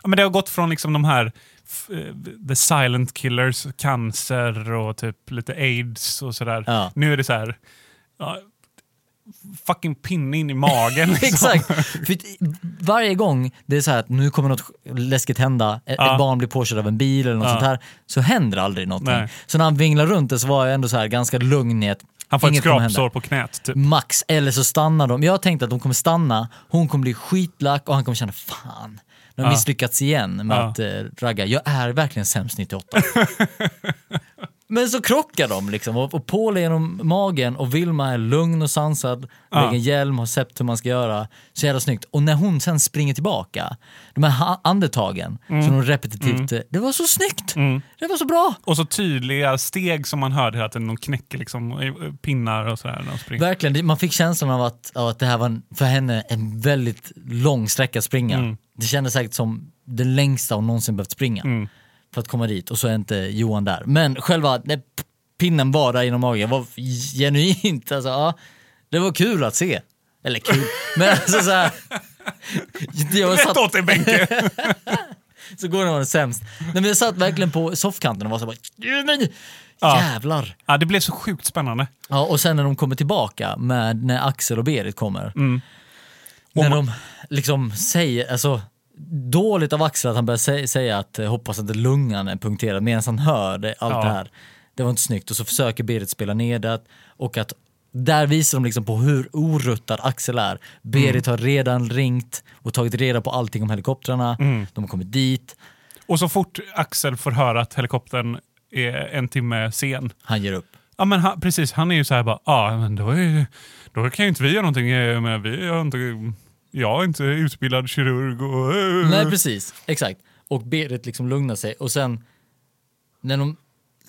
Ja, men det har gått från liksom de här f- eh, The Silent Killers, cancer och typ lite aids och sådär.
Ja.
Nu är det så här, ja, fucking pinne in i magen. Liksom.
Exakt. För att varje gång det är så här att nu kommer något läskigt hända, ett,
Ja.
ett barn blir påkörd av en bil eller något
Ja.
sånt här, så händer aldrig någonting.
Nej.
Så när han vinglar runt det så var jag ändå så här ganska lugn i att
Han får
inget
ett
kommer hända.
skrapsår på knät. Typ.
Max, eller så stannar de. Jag tänkte att de kommer stanna, hon kommer bli skitlack och han kommer känna fan, nu har
Ja.
misslyckats igen med
Ja.
att eh, ragga. Jag är verkligen sämst 98. Men så krockar de liksom och, och Paul är genom magen och Vilma är lugn och sansad,
Ja.
lägger en hjälm, har sett hur man ska göra. Så jävla snyggt. Och när hon sen springer tillbaka, de här ha- andetagen
Mm.
som hon repetitivt, eh, det var så snyggt! Det var så bra!
Och så tydliga steg som man hörde hela tiden. De knäcker liksom eh, pinnar och sådär när de springer.
Verkligen, det- man fick känslan av att, av att det här var en, för henne en väldigt lång sträcka att springa. Det kändes säkert som den längsta hon någonsin behövt springa för att komma dit och så är inte Johan där. Men själva nej, p- pinnen var där inom magen, var genuint alltså, ja, det var kul att se. Eller kul, men alltså så här, jag
Rätt
satt,
åt dig Benke!
så går det var sämst. Nej, men jag satt verkligen på soffkanten och var så här bara,
Ja.
jävlar.
ja, det blev så sjukt spännande.
Ja, och sen när de kommer tillbaka, med, när Axel och Berit kommer. När de liksom säger, alltså dåligt av Axel att han började sä- säga att eh, hoppas att lungan är punkterad medan han hör det, allt
Ja.
det här. Det var inte snyggt och så försöker Berit spela ner det och att där visar de liksom på hur oruttad Axel är. Berit har redan ringt och tagit reda på allting om helikoptrarna. De har kommit dit,
Och så fort Axel får höra att helikoptern är en timme sen.
han ger upp.
Ja, men han, precis, han är ju så här bara, ja, men då, är, då kan ju inte vi göra någonting. eh, Jag menar, vi har inte, jag är inte utbildad kirurg. Och, eh."
Nej, precis. Exakt. Och Berit liksom lugnar sig och sen när de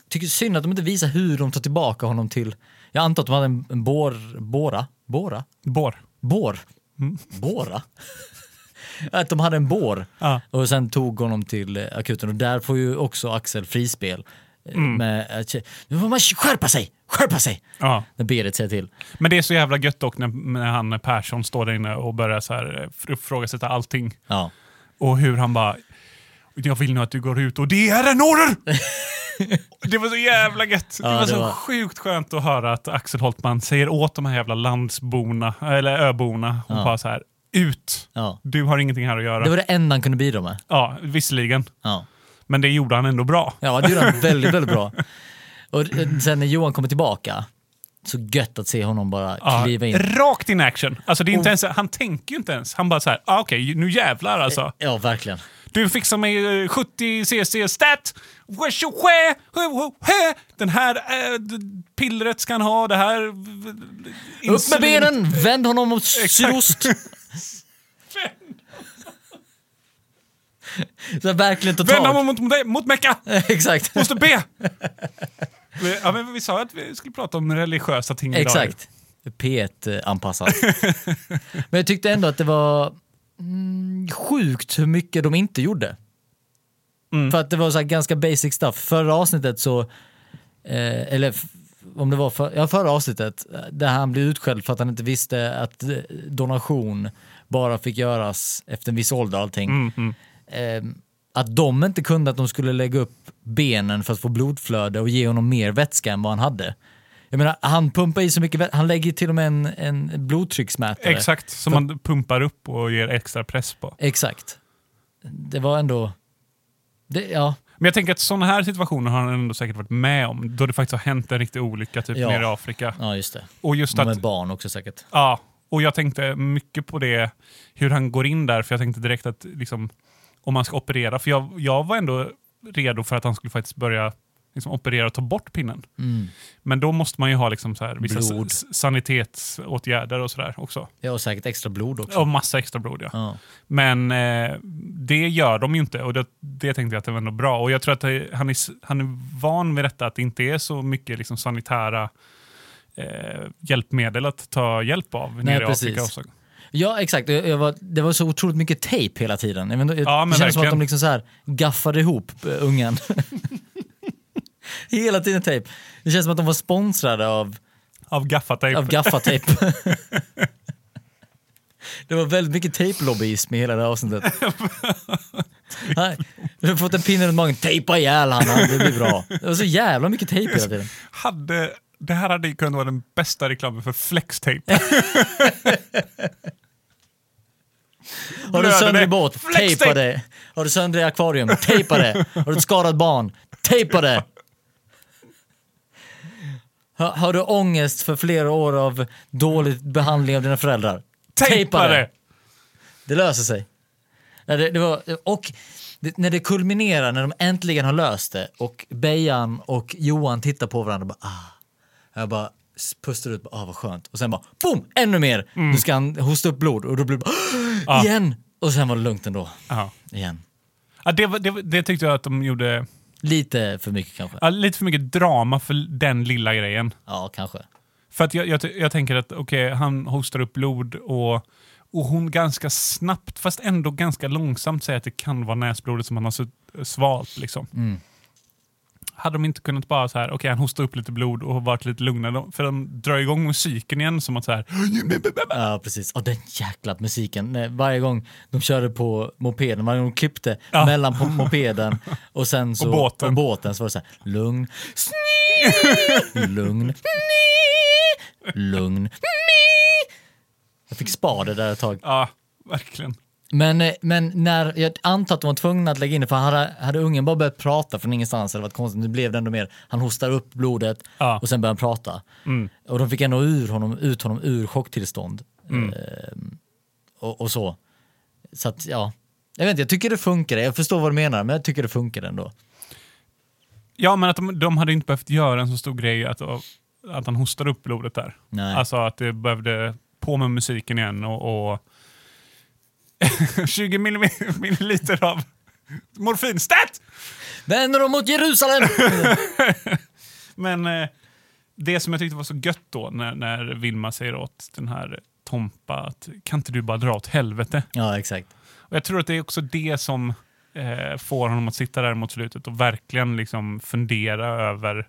tycker synd att de inte visar hur de tar tillbaka honom till, jag antar att de hade en, en bår, båra, båra,
Bår.
bår, båra? att de hade en bår
Ja.
och sen tog honom till eh, akuten och där får ju också Axel frispel. eh, Med, att tje- nu får man skärpa sig, skärpa sig!
Ja.
När Berit säger till.
Men det är så jävla gött dock när, när han Persson står där inne och börjar så här, eh, ifrågasätta allting.
Ja.
Och hur han bara, jag vill nu att du går ut och det är en order! det var så jävla gött.
Ja,
det var
det
så
var-
sjukt skönt att höra att Axel Holtman säger åt de här jävla landsborna, eller öborna, och bara så här, ut!
ja.
Du har ingenting här att göra.
Det var det enda han kunde bidra med.
Ja, visserligen.
Ja.
Men det gjorde han ändå bra.
Ja, det gjorde han väldigt, väldigt bra. Och eh, sen när Johan kommer tillbaka, så gött att se honom bara
Ja,
kliva in.
Rakt in action. Alltså, det är inte ens, han tänker ju inte ens. Han bara så här, ah, okej, nu
Eh,
jävlar alltså.
Ja, verkligen.
Du fixar mig eh, 70 cc stat! oh, Den här äh, pillret ska han ha, det här...
Upp med benen, vänd honom mot sydost. Så verkligen totalt.
Vända mot, mot, mot Mecka!
Exakt.
Måste be! ja, men vi sa ju att vi skulle prata om religiösa ting idag.
Exakt. P1-anpassat. Men jag tyckte ändå att det var mm, sjukt hur mycket de inte gjorde.
Mm.
För att det var så här ganska basic stuff. Förra avsnittet så, eh, eller f- om det var för, ja, förra avsnittet, eh, där han blev utskälld för att han inte visste att eh, donation bara fick göras efter en viss ålder och allting.
Mm,
Eh, att de inte kunde att de skulle lägga upp benen för att få blodflöde och ge honom mer vätska än vad han hade. Jag menar, han pumpar i så mycket vätska, han lägger till och med en, en blodtrycksmätare.
Exakt, som man pumpar upp och ger extra press på.
Exakt. Det var ändå, det, ja,
Men jag tänker att sådana här situationer har han ändå säkert varit med om, då det faktiskt har hänt en riktig olycka typ
Ja.
nere i Afrika.
ja just det.
Och just
De
att
är barn också säkert.
Ja, och jag tänkte mycket på det, hur han går in där, för jag tänkte direkt att liksom, om man ska operera, för jag, jag var ändå redo för att han skulle faktiskt börja liksom, operera och ta bort pinnen.
Mm.
Men då måste man ju ha liksom, så här, vissa s-
Blod.
s- sanitetsåtgärder och sådär också.
Ja, och säkert extra blod också.
Och massa extra blod ja.
Ja.
Men eh, det gör de ju inte och det, det tänkte jag att det var ändå bra. Och jag tror att det, han, är, s- han är van vid detta, att det inte är så mycket liksom, sanitära eh, hjälpmedel att ta hjälp av nere i
precis.
Afrika. Också.
Ja, exakt. Jag, jag var, det var så otroligt mycket tejp hela tiden. Jag, men, jag,
Ja, men
det kändes som att de
verkligen.
liksom så här gaffade ihop eh, ungen. hela tiden tejp. Det känns som att de var sponsrade av,
Av gaffatejp.
av gaffatejp. det var väldigt mycket tejplobbyism i hela det här avsnittet. Nej, Du har fått en pinne runt magen, tejpa ihjäl han, han, det blir bra. Det var så jävla mycket tejp hela tiden.
hade, det här hade ju kunnat vara den bästa reklamen för flextape.
Har du
Blöder
sönder i
det?
båt?
Flextejp!
Tejpa det. Har du sönder i akvarium? Tejpa det. Har du ett skadat barn? Tejpa det. Har, har du ångest för flera år av dålig behandling av dina föräldrar?
Tejpa det!
Det löser sig. Nej, det, det var, och det, när det kulminerar, när de äntligen har löst det och Bejan och Johan tittar på varandra och bara ah. Jag bara s- pustar ut, bara, ah vad skönt. Och sen bara boom, ännu mer! Nu ska han hosta upp blod och då blir det bara, ah, igen! Och sen var det lugnt ändå.
Ja.
Igen.
Ja, det, var- det, var- det tyckte jag att de gjorde
Lite för mycket kanske.
ja, lite för mycket drama för den lilla grejen.
Ja, kanske.
För att jag, jag, ty- jag tänker att okej, han hostar upp blod och, och hon ganska snabbt, fast ändå ganska långsamt säger att det kan vara näsblodet som han har su- svalt. Liksom. Hade de inte kunnat bara så här, okej han hostar upp lite blod och varit lite lugnare. För de drar igång musiken igen som att så här,
Ja, precis. Och den jäkla musiken. Nej, Varje gång de körde på mopeden, varje gång de klippte mellan på mopeden och sen så
Och båten.
och båten så var det så här, lugn, sni, lugn, ni, lugn, ni. Jag fick spade där ett tag.
ja ah, verkligen.
Men, eh, men när, jag antar att de var tvungna att lägga in det, för hade, hade ungen bara börjat prata från ingenstans hade det varit konstigt. Nu blev det ändå mer, han hostar upp blodet
Ja.
och sen börjar han prata. Och de fick ändå ur honom, ut honom ur chocktillstånd. Eh, och, och så. Så att, ja. Jag vet inte, jag tycker det funkar. Jag förstår vad du menar, men jag tycker det funkar ändå.
Ja, men att de, de hade inte behövt göra en så stor grej att, att han hostade upp blodet där.
Nej.
Alltså att det behövde på med musiken igen och, och 20 millimi- milliliter av morfinstat!
Vänder dem mot Jerusalem!
Men eh, det som jag tyckte var så gött då när, när Vilma säger åt den här Tompa att kan inte du bara dra åt helvete?
ja, exakt.
Och jag tror att det är också det som eh, får honom att sitta där mot slutet och verkligen liksom fundera över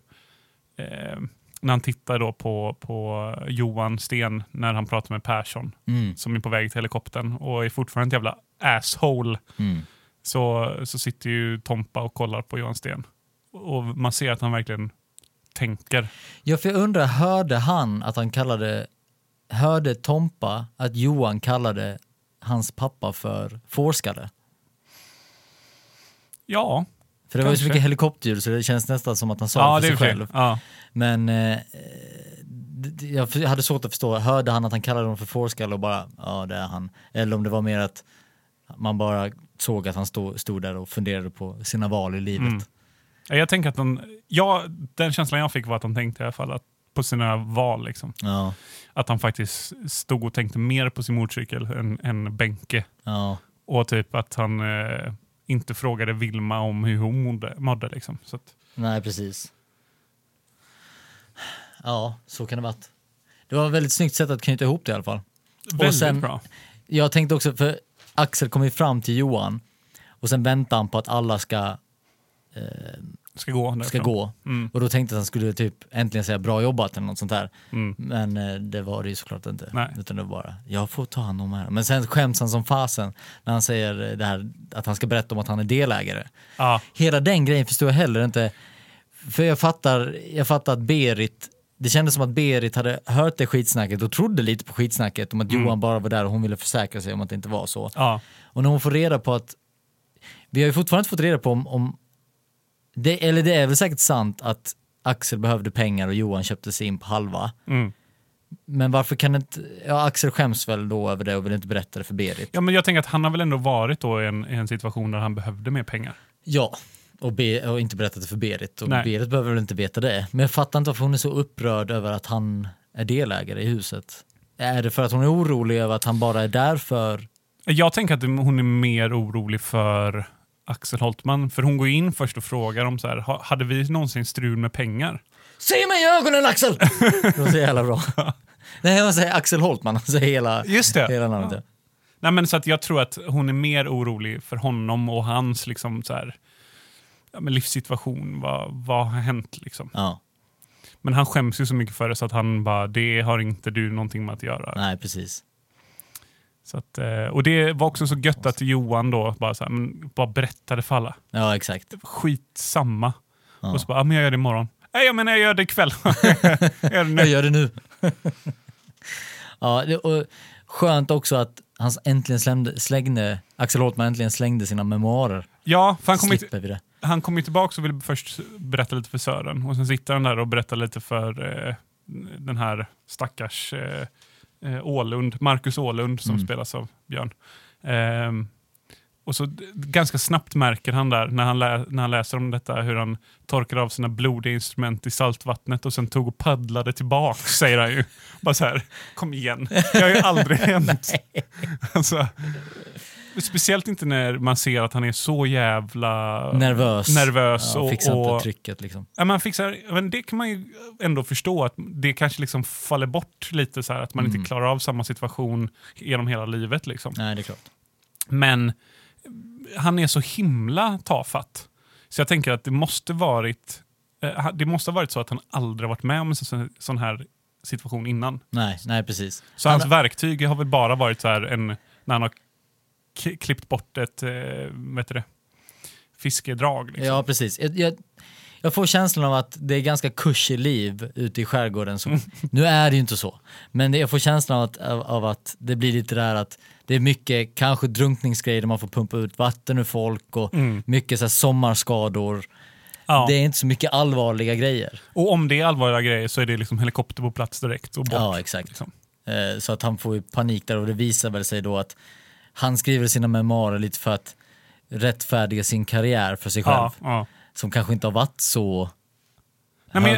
eh, när han tittar då på, på Johan Sten när han pratar med Persson
Mm.
som är på väg till helikoptern och är fortfarande ett jävla asshole
Mm.
så, så sitter ju Tompa och kollar på Johan Sten. Och man ser att han verkligen tänker.
Ja, för jag undrar, hörde han att han kallade, hörde Tompa att Johan kallade hans pappa för fårskalle?
Ja,
För det var ju så
Kanske.
mycket helikopterljud så det känns nästan som att han sa
ja
det
det
för sig
är själv.
själv.
Ja.
Men eh, d- d- jag f- hade svårt att förstå, hörde han att han kallade honom för fårskalle och bara, ja det är han. Eller om det var mer att man bara såg att han stod, stod där och funderade på sina val i livet.
Mm. Ja, Jag tänker att den, ja, den känslan jag fick var att han tänkte i alla fall att, på sina val. Liksom.
Ja,
Att han faktiskt stod och tänkte mer på sin motorcykel än, än Benke.
ja.
Och typ att han eh, inte frågade Vilma om hur hon mådde. mådde liksom. Så att,
Nej, precis. Ja, så kan det varit. Det var ett väldigt snyggt sätt att knyta ihop det i alla fall.
väldigt
sen-
bra.
Jag tänkte också, för Axel kom ju fram till Johan och sen väntar han på att alla ska,
Ska gå
ska
därifrån.
gå.
Mm.
Och då tänkte jag att han skulle typ äntligen säga bra jobbat eller något sånt där.
Mm.
Men eh, det var det ju såklart inte.
Nej.
Utan det var bara, jag får ta hand om det här. Men sen skäms han som fasen när han säger eh, det här att han ska berätta om att han är delägare.
Ja,
hela den grejen förstår jag heller inte. För jag fattar, jag fattar att Berit, det kändes som att Berit hade hört det skitsnacket och trodde lite på skitsnacket om att Johan bara var där och hon ville försäkra sig om att det inte var så.
ja,
Och när hon får reda på att, vi har ju fortfarande inte fått reda på om, om det, eller det är väl säkert sant att Axel behövde pengar och Johan köpte sig in på halva.
mm.
Men varför kan inte, ja Axel skäms väl då över det och vill inte berätta det för Berit.
ja, men jag tänker att han har väl ändå varit då i en, i en situation där han behövde mer pengar.
Ja, och, be, och inte berättat det för Berit. Och
Nej.
Berit behöver väl inte veta det. Men jag fattar inte varför hon är så upprörd över att han är delägare i huset. Är det för att hon är orolig över att han bara är där för...
Jag tänker att hon är mer orolig för Axel Holtman, för hon går in först och frågar om så här, "Ha- hade vi någonsin strul med pengar?
Se mig i ögonen Axel! Det var så jävla bra. Nej, hon säger Axel Holtman, han säger hela,
Just det.
hela namnet.
Ja. Nej, men så att jag tror att hon är mer orolig för honom och hans liksom, så här, ja, men livssituation. Vad, vad har hänt? Liksom.
Ja,
Men han skäms ju så mycket för det så att han bara, det har inte du någonting med att göra.
nej precis.
Så att, eh, och det var också så gött att Johan då bara, så här, men, bara berättade för alla.
Ja, exakt.
Skitsamma.
Ja.
Och så bara, ja, men jag gör det imorgon. Nej, jag menar jag gör det ikväll. jag gör det nu.
Jag gör det nu. ja, det, och skönt också att han äntligen slängde, slängde, Axel Holtman äntligen slängde sina memoarer.
Ja, för han kommer inte-
Slipper vi det.
han kom ju tillbaka och ville först berätta lite för Sören. Och sen sitter han där och berättar lite för eh, den här stackars eh, eh, Ålund, Marcus Ålund som spelas av Björn. Ehm, och så d- ganska snabbt märker han där när han, lä- när han läser om detta hur han torkade av sina blodiga instrument i saltvattnet och sen tog och paddlade tillbaka, säger han ju. Bara så här, kom igen, det har ju aldrig hänt. alltså, speciellt inte när man ser att han är så jävla
Nervös.
nervös
Ja,
och,
fixar inte
och
trycket liksom.
ja, man fixar, men det kan man ju ändå förstå att det kanske liksom faller bort lite så här att man
Mm.
inte klarar av samma situation genom hela livet liksom.
Nej, det är klart.
Men han är så himla tafatt. Så jag tänker att det måste varit eh, ha- det måste ha varit så att han aldrig varit med om en sån- sån här situation innan.
Nej, nej precis.
Så hans verktyg har väl bara varit så här en, när han har k- klippt bort ett eh, vad heter det, fiskedrag. Liksom.
Ja, precis. Jag, jag, jag får känslan av att det är ganska kuschig liv ute i skärgården. Så, nu är det ju inte så, men det- jag får känslan av att, av, av att det blir lite där att Det är mycket kanske drunkningsgrejer där man får pumpa ut vatten ur folk och mycket så här sommarskador.
Mm. Ja.
Det är inte så mycket allvarliga grejer.
Och om det är allvarliga grejer så är det liksom helikopter på plats direkt och bort.
Ja, exakt.
liksom.
Eh, Så att han får ju panik där och det visar väl sig då att han skriver sina memoarer lite för att rättfärdiga sin karriär för sig själv.
Ja, ja.
Som kanske inte har varit så,
Nej, men
hög,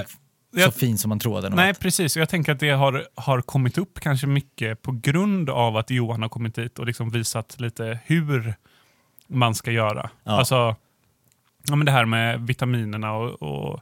jag- jag-
så fin som man tror att den har
Nej,
varit.
precis. Och Jag tänker att det har, har kommit upp kanske mycket på grund av att Johan har kommit hit och liksom visat lite hur man ska göra.
Ja.
Alltså, ja, men det här med vitaminerna och, och,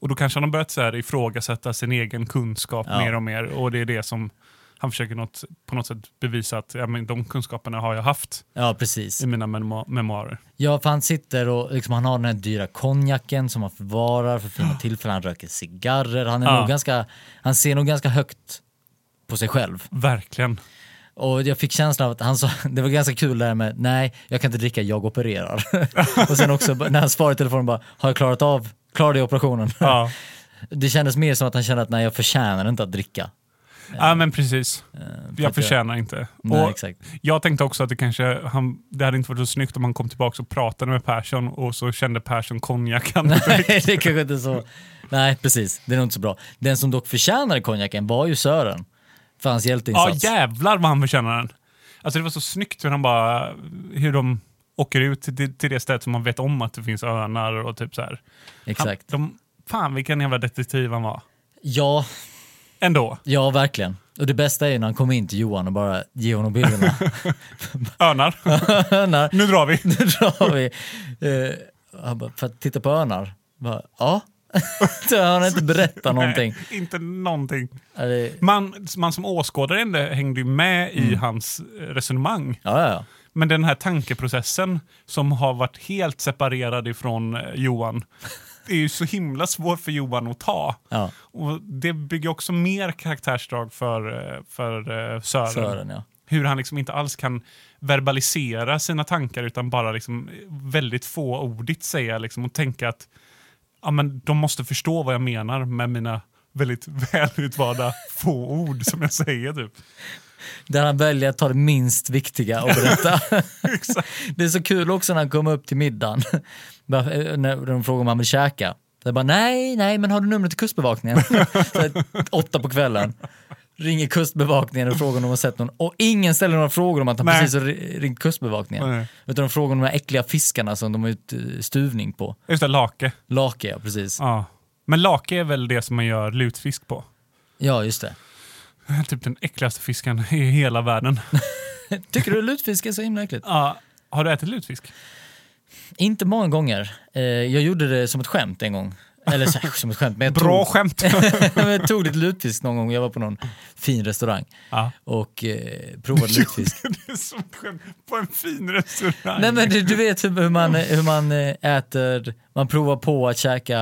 och då kanske han har börjat så här ifrågasätta sin egen kunskap
Ja.
mer och mer. Och det är det som han försöker något, på något sätt bevisa att ja, men de kunskaperna har jag haft
Ja, precis.
i mina memo- memoarer.
Ja, för han sitter och liksom, han har den här dyra konjaken som han förvarar för fina tillfällen. Han röker cigarrer. Han, är
Ja.
nog ganska, han ser nog ganska högt på sig själv.
Verkligen.
Och jag fick känslan av att han sa, det var ganska kul det här med, nej jag kan inte dricka, jag opererar. och sen också när han svarade i telefonen bara, har jag klarat av, klarade jag operationen?
Ja.
det kändes mer som att han kände att nej jag förtjänar inte att dricka.
ja, men precis.
Eh, för
Jag
att jag-
förtjänar inte.
Nej,
Och-
exakt.
Jag tänkte också att det kanske han, det hade inte varit så snyggt om han kom tillbaka och pratade med Persson och så kände Persson konjakan.
Nej, det är kanske inte så. Nej, precis. Det är nog inte så bra. Den som dock förtjänade konjaken var ju Sören. För hans
ja
hjälteinsats.
jävlar vad han förtjänar den. Alltså det var så snyggt hur han bara, hur de åker ut till, till det stället som man vet om att det finns örnar och typ så här. Han,
Exakt.
de, fan vilken jävla detektiv han var.
Ja,
Ändå.
ja, verkligen. Och det bästa är ju när han kommer in till Johan och bara ger honom bilderna.
Örnar.
Örnar,
nu drar vi.
nu drar vi. Eh, han bara, för att titta på örnar? Bara, ja. Så han har inte berättat någonting.
Nej, inte någonting.
Ja, det-
Man, man som åskådare ändå hängde ju med
Mm.
i hans resonemang.
Ja, ja, ja.
Men den här tankeprocessen som har varit helt separerad ifrån eh, Johan, det är ju så himla svårt för Johan att ta.
ja.
Och det bygger också mer karaktärsdrag för, eh, för eh, Sören.
Sören, ja.
Hur han liksom inte alls kan verbalisera sina tankar utan bara liksom eh, väldigt få ordigt säga liksom och tänka att ja, men de måste förstå vad jag menar med mina väldigt välutvalda få ord som jag säger. Typ.
Där han väljer att ta det minst viktiga och berätta.
Exakt.
Det är så kul också när han kommer upp till middagen. Bara, eh, när de frågar om han vill käka. Jag bara, nej, nej, men har du numret till kustbevakningen? så här, åtta på kvällen. Ringer kustbevakningen och frågar om de har sett någon. Och ingen ställer några frågor om att han
Nej.
precis har ri- ringt kustbevakningen.
Nej.
Utan de frågar om de här äckliga fiskarna som de har gjort eh, stuvning på.
Just det, Lake.
Lake, ja precis.
Ja. Men lake är väl det som man gör lutfisk på?
Ja, just det.
Typ den äckligaste fisken i hela världen.
Tycker du lutfisk är så himla äckligt?
Ja. Har du ätit lutfisk?
Inte många gånger. Eh, jag gjorde det som ett skämt en gång. Eller så, som ett skämt, men jag
Bra skämt!
tog, men jag tog lite lutfisk någon gång. Jag var på någon fin restaurang.
ja.
och eh, provade lutfisk.
det är som ett skämt på en fin restaurang.
Nej men du, du vet hur, hur man, hur man eh, äter, man provar på att käka,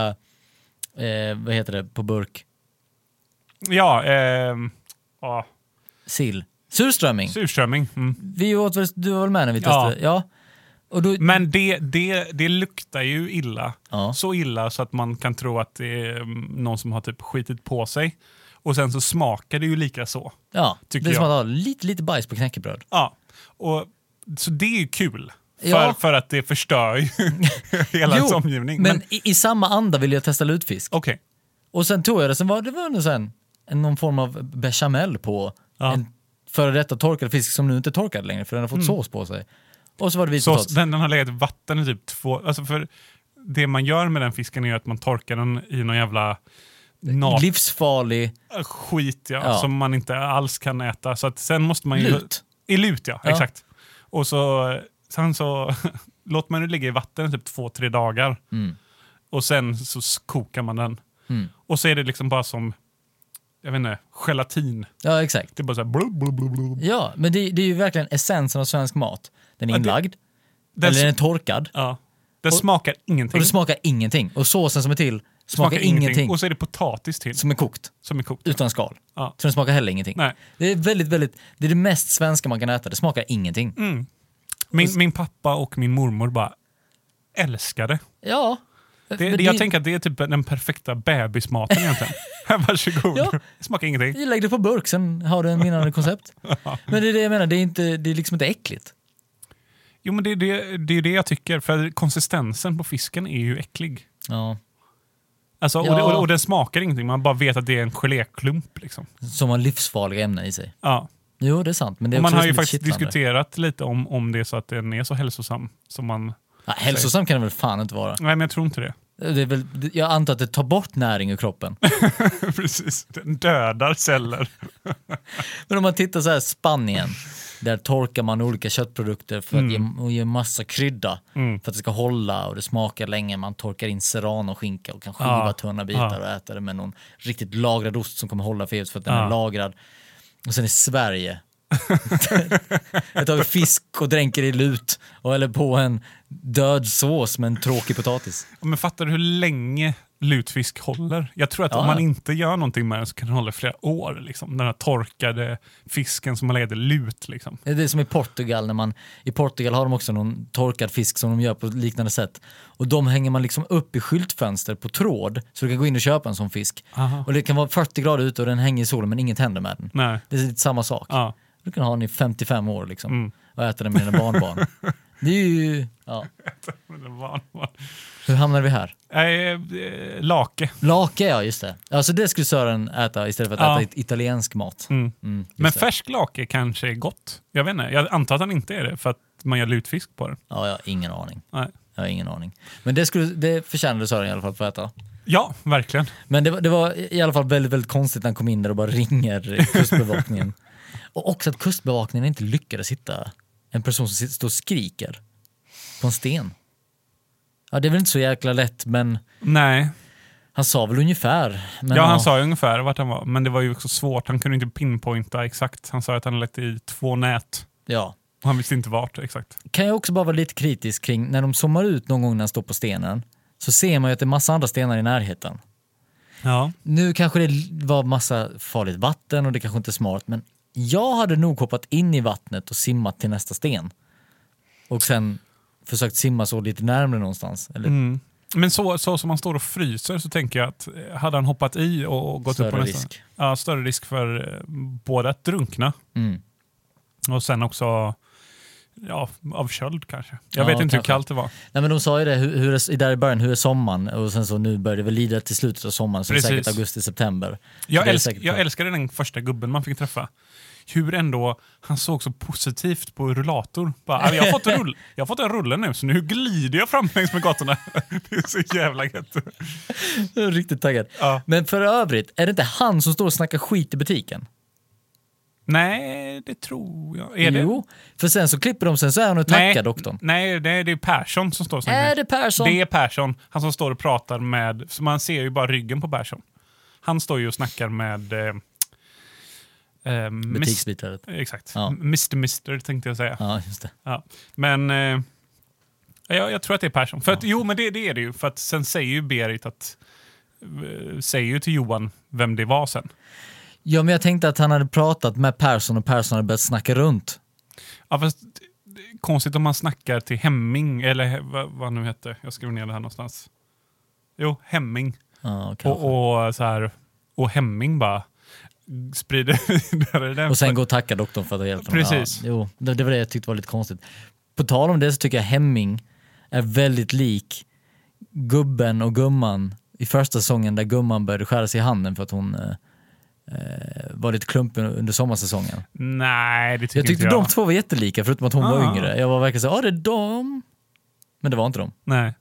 eh, vad heter det, på burk,
Ja, ehm, ja.
sill. Surströmming.
surströmming. Mm.
Vi åt väl, du var väl med när vi testade? Ja. Och då,
Men det, det, det luktar ju illa.
Ja.
Så illa så att man kan tro att det är mm, någon som har typ skitit på sig. Och sen så smakar det ju lika så.
ja, det
tycker
är som
jag.
att ha lite, lite bajs på knäckebröd.
Ja, och, så det är ju kul. För,
Ja.
för att det förstör ju hela ens omgivning.
men,
Men,
i, i samma anda ville jag testa lutfisk.
okej.
Och sen tog jag det, sen var det var det sen en- någon form av bechamel på
Ja.
en före detta torkad fisk som nu inte är torkad längre för den har fått sås på sig. Och så var det
Så
vitpotatis.
den, den har legat i vatten i typ två... Alltså för det man gör med den fisken är att man torkar den i någon jävla nat
Livsfarlig
Äh, skit ja,
Ja.
som man inte alls kan äta. Så att sen måste man ju...
Lut.
I lut ja,
Ja.
exakt. Och så, eh, sen så låter man den ligga i vatten i typ två, tre dagar.
Mm.
Och sen så s- kokar man den. Och så är det liksom bara som, jag vet inte, gelatin.
Ja, exakt.
Det är bara så här blub, blub, blub, blub.
Ja, men det, det är ju verkligen essensen av svensk mat. Den är
Ja, det-
inlagd,
Den,
eller den
s-
är torkad,
ja, den smakar
och
ingenting.
det smakar ingenting. Och såsen som är till smakar, ingenting,
Och så är det potatis till
som är kokt,
som är kokt.
utan skal.
Ja.
Så den smakar heller ingenting.
Nej.
Det är väldigt, väldigt, det är det mest svenska man kan äta, det smakar ingenting.
Mm. Min, min pappa och min mormor bara älskade.
Ja,
Det, det, jag tänker att det är typ den perfekta bebismaten egentligen. Varsågod,
Ja.
smaka ingenting.
Lägg det på burk, sen har du en vinnande koncept. Men det är det jag menar, det är, inte, det är liksom inte äckligt.
Jo men det är det, det är det jag tycker, för konsistensen på fisken är ju äcklig.
Ja.
Alltså, och,
Ja.
det, och, och den smakar ingenting, man bara vet att det är en geléklump. Liksom.
Som har livsfarliga ämnen i sig.
Ja.
Jo, det är sant. Men det är
Och man
också
har
det
ju
som är
faktiskt
kittlande.
diskuterat lite om, om det är så att den är så hälsosam. Som man,
Ja, hälsosam kan det väl fan inte vara.
nej men jag tror inte det.
Det är väl, det- jag antar att det tar bort näring ur kroppen.
Precis, den dödar celler.
Men om man tittar så här, Spanien, där torkar man olika köttprodukter för att
Mm.
ge, och ge massa krydda för att det ska hålla och det smakar länge. Man torkar in serrano och skinka och kan skiva
Ja.
tunna bitar
Ja.
och äta det med någon riktigt lagrad ost som kommer hålla för evigt för att den
Ja.
är lagrad. Och sen i Sverige, där tar vi fisk och dränker i lut och eller på en död sås med en tråkig potatis.
Men fattar du hur länge lutfisk håller? Jag tror att
Ja,
om man
ja.
inte gör någonting med den så kan den hålla i flera år. Liksom. Den här torkade fisken som har legat i lut. Liksom.
Det är det som i Portugal, när man, i Portugal har de också någon torkad fisk som de gör på liknande sätt. Och de hänger man liksom upp i skyltfönster på tråd så du kan gå in och köpa en sån fisk.
Aha.
Och det kan vara 40 grader ute och den hänger i solen men inget händer med den.
Nej.
Det är lite samma sak.
Ja. Mm.
Du kan ha den i 55 år liksom och äta den med dina barnbarn. det är ju, ja.
Men det var- var-
Hur hamnar vi här?
Nej, eh, lake.
Lake ja, just det. Alltså det skulle Sören äta istället för att
Ja.
äta it- italiensk mat.
Mm.
Mm, just
Men
det.
färsk lake kanske är gott. Jag vet inte. Jag antar att den inte är det för att man gör lutfisk på den.
Ja, jag har ingen aning.
Nej.
Jag har ingen aning. Men det, skulle, det förtjänade Sören i alla fall för att få äta.
Ja, verkligen.
Men det var, det var i alla fall väldigt, väldigt konstigt när han kom in där och bara ringer Kustbevakningen. och också att Kustbevakningen inte lyckades hitta en person som sitter- står och skriker på en sten. Ja, det är väl inte så jäkla lätt, men
Nej.
han sa väl ungefär. Men
ja, han sa ju ungefär vart han var, men det var ju också svårt. Han kunde inte pinpointa exakt. Han sa att han lagt i två nät.
Ja.
Och han visste inte vart exakt.
Kan jag också bara vara lite kritisk kring när de zoomar ut någon gång när han står på stenen så ser man ju att det är massa andra stenar i närheten.
Ja.
Nu kanske det var massa farligt vatten och det kanske inte är smart, men jag hade nog hoppat in i vattnet och simmat till nästa sten. Och sen försökt simma så lite närmre någonstans. Eller,
Mm, Men så, så som han står och fryser så tänker jag att eh, hade han hoppat i och, och gått upp på
Större
nästa...
risk.
Ja, större risk för eh, både att drunkna
Mm.
och sen också ja, av köld kanske. Jag
Ja,
vet inte hur
kanske.
kallt det var.
Nej men de sa ju det, hur, hur är, där i början, hur är sommaren? Och sen så nu börjar det väl lida till slutet av sommaren, så det är
Precis.
säkert augusti-september. Så
Jag,
det är
älsk,
säkert-
jag älskade den första gubben man fick träffa. Hur ändå han såg så positivt på rullator. Bara, "Ah, jag, har fått en rull, jag har fått en rulle nu, så nu glider jag fram längs med gatorna. Det är så jävla gött.
Jag är Riktigt taggad.
Ja.
Men för övrigt, är det inte han som står och snackar skit i butiken?
Nej, det tror jag. Är det?
Jo, för sen så klipper de, sen så är han och tackar
nej,
doktorn.
Nej, nej, det är Persson som står och snackar.
Är det Persson?
Det är Persson, han som står och pratar med, så man ser ju bara ryggen på Persson. Han står ju och snackar med... Eh, eh, mis-
Butiksbiträdet.
Exakt.
Ja.
Mr. Mister tänkte jag säga.
Ja, just det.
Ja. Men eh, jag, jag tror att det är Persson. För att, Jo, men det, det är det ju. För att sen säger ju Berit att eh, säger ju till Johan vem det var sen.
Ja, men jag tänkte att han hade pratat med Persson och Persson hade börjat snacka runt.
Ja, fast, det är konstigt om man snackar till Hemming, eller he- vad, vad han nu hette. Jag skrev ner det här någonstans. Jo, Hemming.
Ja, kanske. och,
Och, och, så här, och Hemming bara sprider vidare den.
sen gå och tacka doktorn för att ha hjälpt honom.
Precis.
Ja, jo, det, det var det jag tyckte var lite konstigt. På tal om det så tycker jag Hemming är väldigt lik gubben och gumman i första säsongen där gumman började skära sig i handen för att hon eh, eh, var lite klumpen under sommarsäsongen.
Nej, det tycker
Jag tyckte
inte jag.
de två var jättelika förutom att hon var
Ah.
yngre. Jag var verkligen såhär, ja det är de. Men det var inte de.
Nej.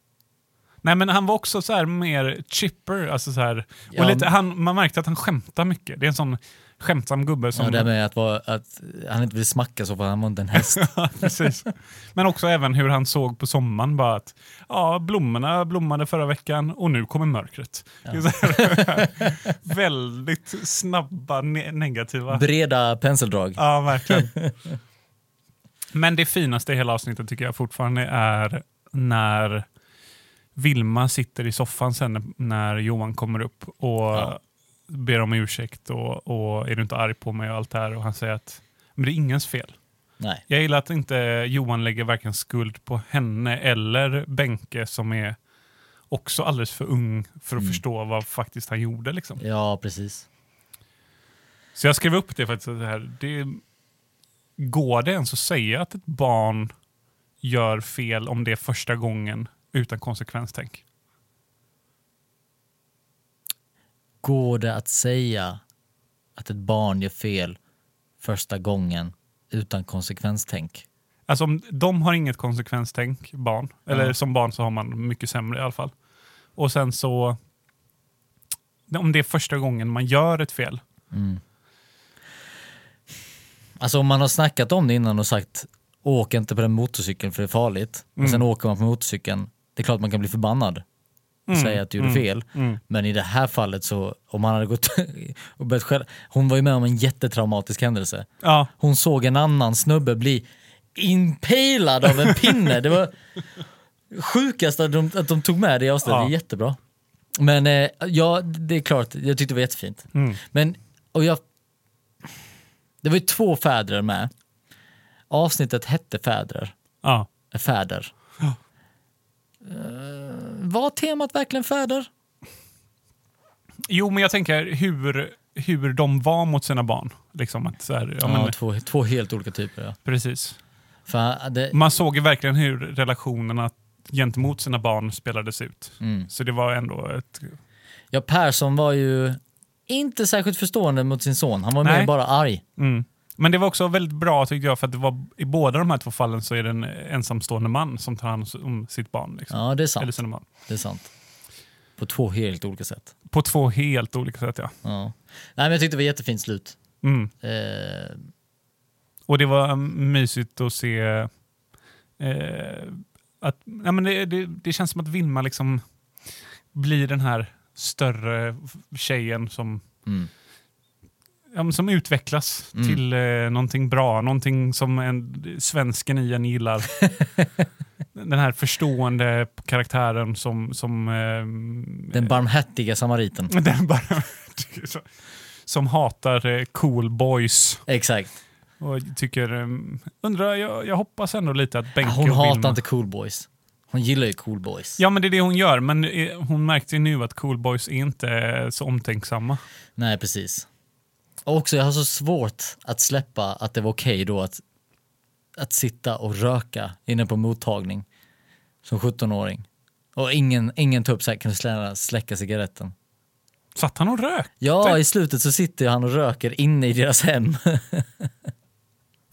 Nej, men han var också så här mer chipper. Alltså så här, och
Ja,
lite,
men-
han, man märkte att han skämtar mycket. Det är en sån skämtsam gubbe.
Ja,
Som,
det här med att, vara, att han inte vill smacka så för han var inte en häst.
precis. Men också även hur han såg på sommaren. Bara att, ja, blommorna blommade förra veckan och nu kommer mörkret. Det är så här, väldigt snabba ne- negativa.
Breda penseldrag.
Ja, verkligen. Men det finaste i hela avsnittet tycker jag fortfarande är när Vilma sitter i soffan sen när Johan kommer upp och
Ja.
ber om ursäkt och, och är du inte arg på mig och allt det här och han säger att men det är ingens fel.
Nej.
Jag gillar att inte Johan lägger varken skuld på henne eller Benke som är också alldeles för ung för att förstå vad faktiskt han gjorde. Liksom.
Ja, precis.
Så jag skrev upp det faktiskt. att Det här. Det, går det ens att säga att ett barn gör fel om det är första gången utan konsekvenstänk?
Går det att säga att ett barn gör fel första gången utan konsekvenstänk?
Alltså om de har inget konsekvenstänk, barn. Eller som barn så har man mycket sämre i alla fall. Och sen så, om det är första gången man gör ett fel.
Alltså om man har snackat om det innan och sagt åk inte på den motorcykeln för det är farligt. Och sen åker man på motorcykeln. Det är klart man kan bli förbannad och säga att du gjorde fel. Men i det här fallet så, om man hade gått och börjat skälla. Hon var ju med om en jättetraumatisk händelse.
Ja,
Hon såg en annan snubbe bli impalad av en pinne. Det var sjukast att de, att de tog med det i avsnittet.
Ja.
Det är jättebra. Men eh, ja, det är klart, jag tyckte det var jättefint.
Mm.
Men, och jag... Det var ju två fäder med. Avsnittet hette Fäder.
ja.
eh, Fäder. Eh, var temat verkligen fäder?
Jo, men jag tänker hur, hur de var mot sina barn. Liksom att så här, ja,
Ja,
men,
två, två helt olika typer. Ja.
precis.
För, eh, det,
Man såg ju verkligen hur relationerna gentemot sina barn spelades ut.
Mm.
Så det var ändå ett...
Ja, Persson var ju inte särskilt förstående mot sin son. Han var
Nej.
mer bara arg.
Mm. Men det var också väldigt bra tyckte jag, för att det var, i båda de här två fallen så är det en ensamstående man som tar hand om sitt barn. Liksom.
Ja, det är
Eller
sant.
sina barn.
Det är sant. På två helt olika sätt.
På två helt olika sätt ja.
Ja. Nej, men jag tyckte det var jättefint slut.
Mm.
Eh,
Och det var mm, mysigt att se eh, att ja, men det, det, det känns som att Vilma liksom blir den här större f- tjejen som,
mm.
ja, men som utvecklas
Mm.
till eh, någonting bra, någonting som en, svensken i en gillar. den här förstående karaktären som... som eh,
Den barmhärtiga samariten.
den bara, som hatar eh, cool boys.
Exakt.
Och jag tycker, ehm, undrar, jag, jag hoppas ändå lite att Benke
Hon
och Vilma-
hatar inte cool boys. Hon gillar ju cool boys.
Ja men det är det hon gör, men eh, hon märkte ju nu att cool boys är inte eh, så omtänksamma.
Nej, precis. Och också, jag har så svårt att släppa att det var okej då att, att sitta och röka inne på mottagning som 17-åring. Och ingen, ingen tar upp så här, kan du släcka, släcka cigaretten?
Satt han och rök?
Ja,
Tack.
i slutet så sitter ju han och röker inne i deras hem.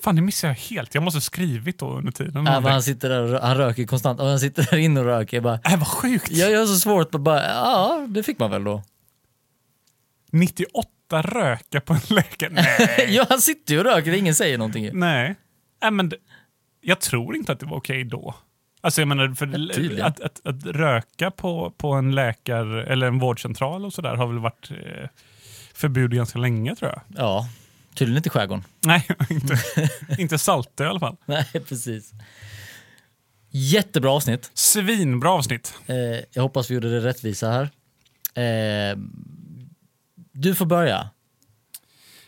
Fan det missade jag helt, jag måste ha skrivit då under tiden.
Ja, men
Äh,
han sitter där och rö- han röker konstant och han sitter där inne och röker. Jag, bara,
vad sjukt!
jag, jag har så svårt att bara, ja, det fick man väl då.
98 röka på en läkare? Nej.
Ja, han sitter ju och röker, ingen säger någonting. ju.
Nej. Äh, men det, jag tror inte att det var okej då. Alltså jag menar,
Ja,
för
tydligen.
att, att, att röka på, på en läkare eller en vårdcentral och sådär har väl varit eh, förbud ganska länge tror jag.
Ja, tydligen inte i skärgården.
Nej, inte, inte Saltö i alla fall.
Nej, precis. Jättebra avsnitt.
Svinbra avsnitt.
Eh, jag hoppas vi gjorde det rättvisa här. Eh, du får börja.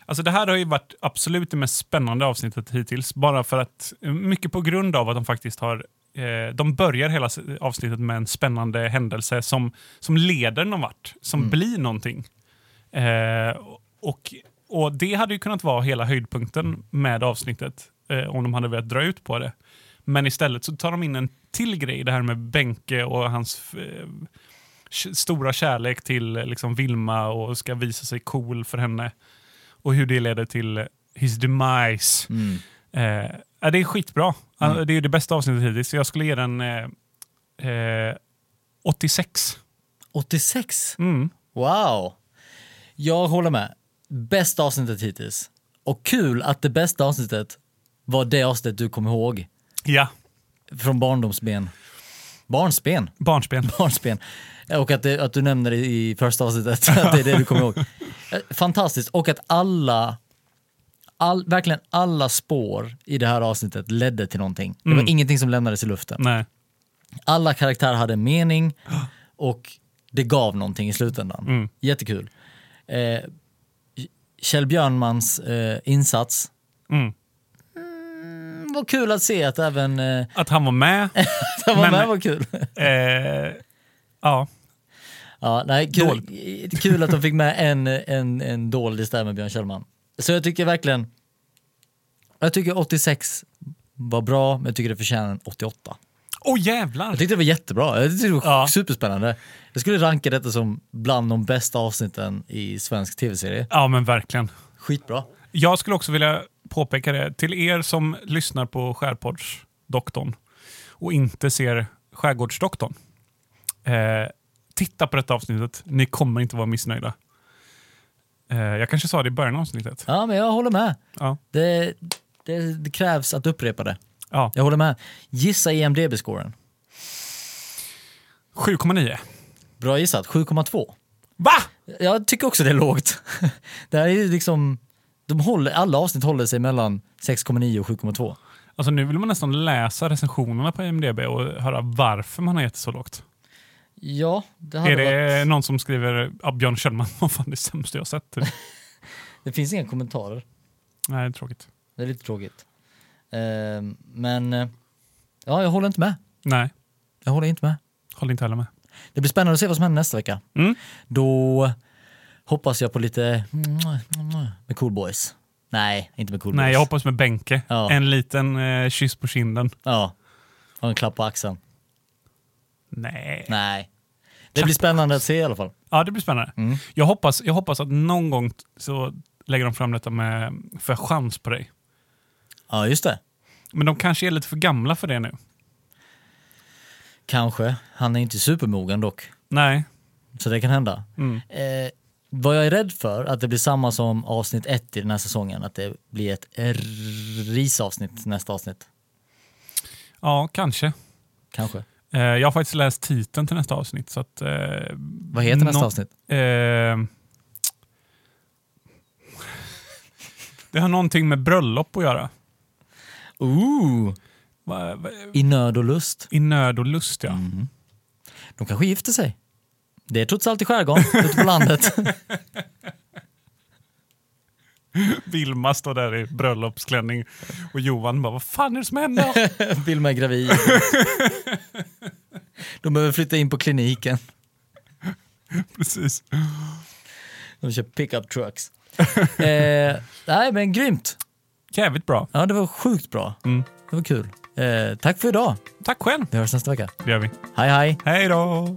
Alltså det här har ju varit absolut det mest spännande avsnittet hittills. Bara för att, eh, mycket på grund av att de faktiskt har eh, de börjar hela s- avsnittet med en spännande händelse som, som leder någon vart, som blir någonting. Eh, och, och det hade ju kunnat vara hela höjdpunkten med avsnittet eh, om de hade velat dra ut på det. Men istället så tar de in en till grej, det här med Benke och hans eh, k- stora kärlek till eh, liksom Vilma och ska visa sig cool för henne. Och hur det leder till eh, his demise. Eh, ja, det är skitbra. Ja, Det är ju det bästa avsnittet hittills. Så jag skulle ge den eh, eh, 86.
86?
Mm.
Wow! Jag håller med. Bästa avsnittet hittills. Och kul att det bästa avsnittet var det avsnittet du kom ihåg
Ja,
från barndomsben. Barnsben?
barnspel.
Barnsben. Och att, det, att du nämnde det i första avsnittet, att det är det du kommer ihåg. Eh, Fantastiskt. Och att alla, all, verkligen alla spår i det här avsnittet ledde till någonting. Det
Mm.
var ingenting som lämnades i luften.
Nej.
Alla karaktärer hade en mening och det gav någonting i slutändan.
Mm.
Jättekul. Eh, Kjell Björnmans eh, insats.
Mm.
Mm, Vad kul att se att även eh,
Att han var med.
han var
Men-
med, var kul.
Eh, Ja,
Ja, nej, kul, kul att de fick med en, en, en dålig där med Björn Kjellman. Så jag tycker verkligen, jag tycker 86 var bra, men jag tycker det förtjänar en 88.
Åh oh, jävlar!
Jag tyckte det var jättebra, jag tyckte det var
Ja.
superspännande. Jag skulle ranka detta som bland de bästa avsnitten i svensk tv-serie.
Ja, men verkligen.
Skitbra.
Jag skulle också vilja påpeka det till er som lyssnar på Skärgårdsdoktorn och inte ser Skärgårdsdoktorn. Eh, titta på detta avsnittet. Ni kommer inte vara missnöjda. Eh, jag kanske sa det i början av avsnittet.
Ja, men jag håller med.
Ja.
Det, det, det krävs att upprepa det.
Ja.
Jag håller med. Gissa E IMDB-scoren.
7,9.
Bra gissat, 7,2.
Va?
Jag tycker också det är lågt. Det här är ju liksom, de håller, alla avsnitt håller sig mellan 6,9 och 7,2.
Alltså nu vill man nästan läsa recensionerna på IMDB och höra varför man har gett så lågt.
Ja, det hade
Är det
varit...
någon som skriver ja, Björn Kjellman var fan det sämsta jag har sett? typ?
Det finns inga kommentarer.
Nej, det är tråkigt.
Det är lite tråkigt. Ehm, men, eh, ja, jag håller inte med.
Nej,
Jag håller inte med.
håller inte heller med.
Det blir spännande att se vad som händer nästa vecka.
Mm.
Då hoppas jag på lite mm, med Cool Boys. Nej, inte med Cool
Nej,
Boys.
jag hoppas med Benke.
Ja.
En liten eh, kyss på kinden.
Ja, och en klapp på axeln.
Nej.
Nej. Det blir spännande att se i alla fall.
Ja, det blir spännande.
Mm.
Jag, hoppas, jag hoppas att någon gång t- så lägger de fram detta med Får jag chans på dig?
Ja, just det.
Men de kanske är lite för gamla för det nu.
Kanske. Han är inte supermogen dock,
Nej.
så det kan hända.
Mm.
Eh, vad jag är rädd för, att det blir samma som avsnitt ett i den här säsongen, att det blir ett r- risavsnitt nästa avsnitt.
Ja, kanske.
Kanske.
Eh, jag har faktiskt läst titeln till nästa avsnitt. Så att, eh,
Vad heter nästa
Nå-
avsnitt?
eh, det har någonting med bröllop att göra.
Ooh.
Va, va,
I nöd och lust. Mhm.
I nöd och lust,
Mm.
ja.
De kanske gifter sig. Det är trots allt i skärgården, ute på landet.
Vilma står där i bröllopsklänning och Johan bara, vad fan är det som händer?
Vilma är gravid. De behöver flytta in på kliniken.
Precis.
De kör pickup trucks. eh, nej, men grymt.
Jävligt bra.
Ja, det var sjukt bra.
Mm.
Det var kul. Eh, tack för idag.
Tack själv.
Vi hörs nästa vecka.
Det gör vi.
Hej, hej.
Hej då!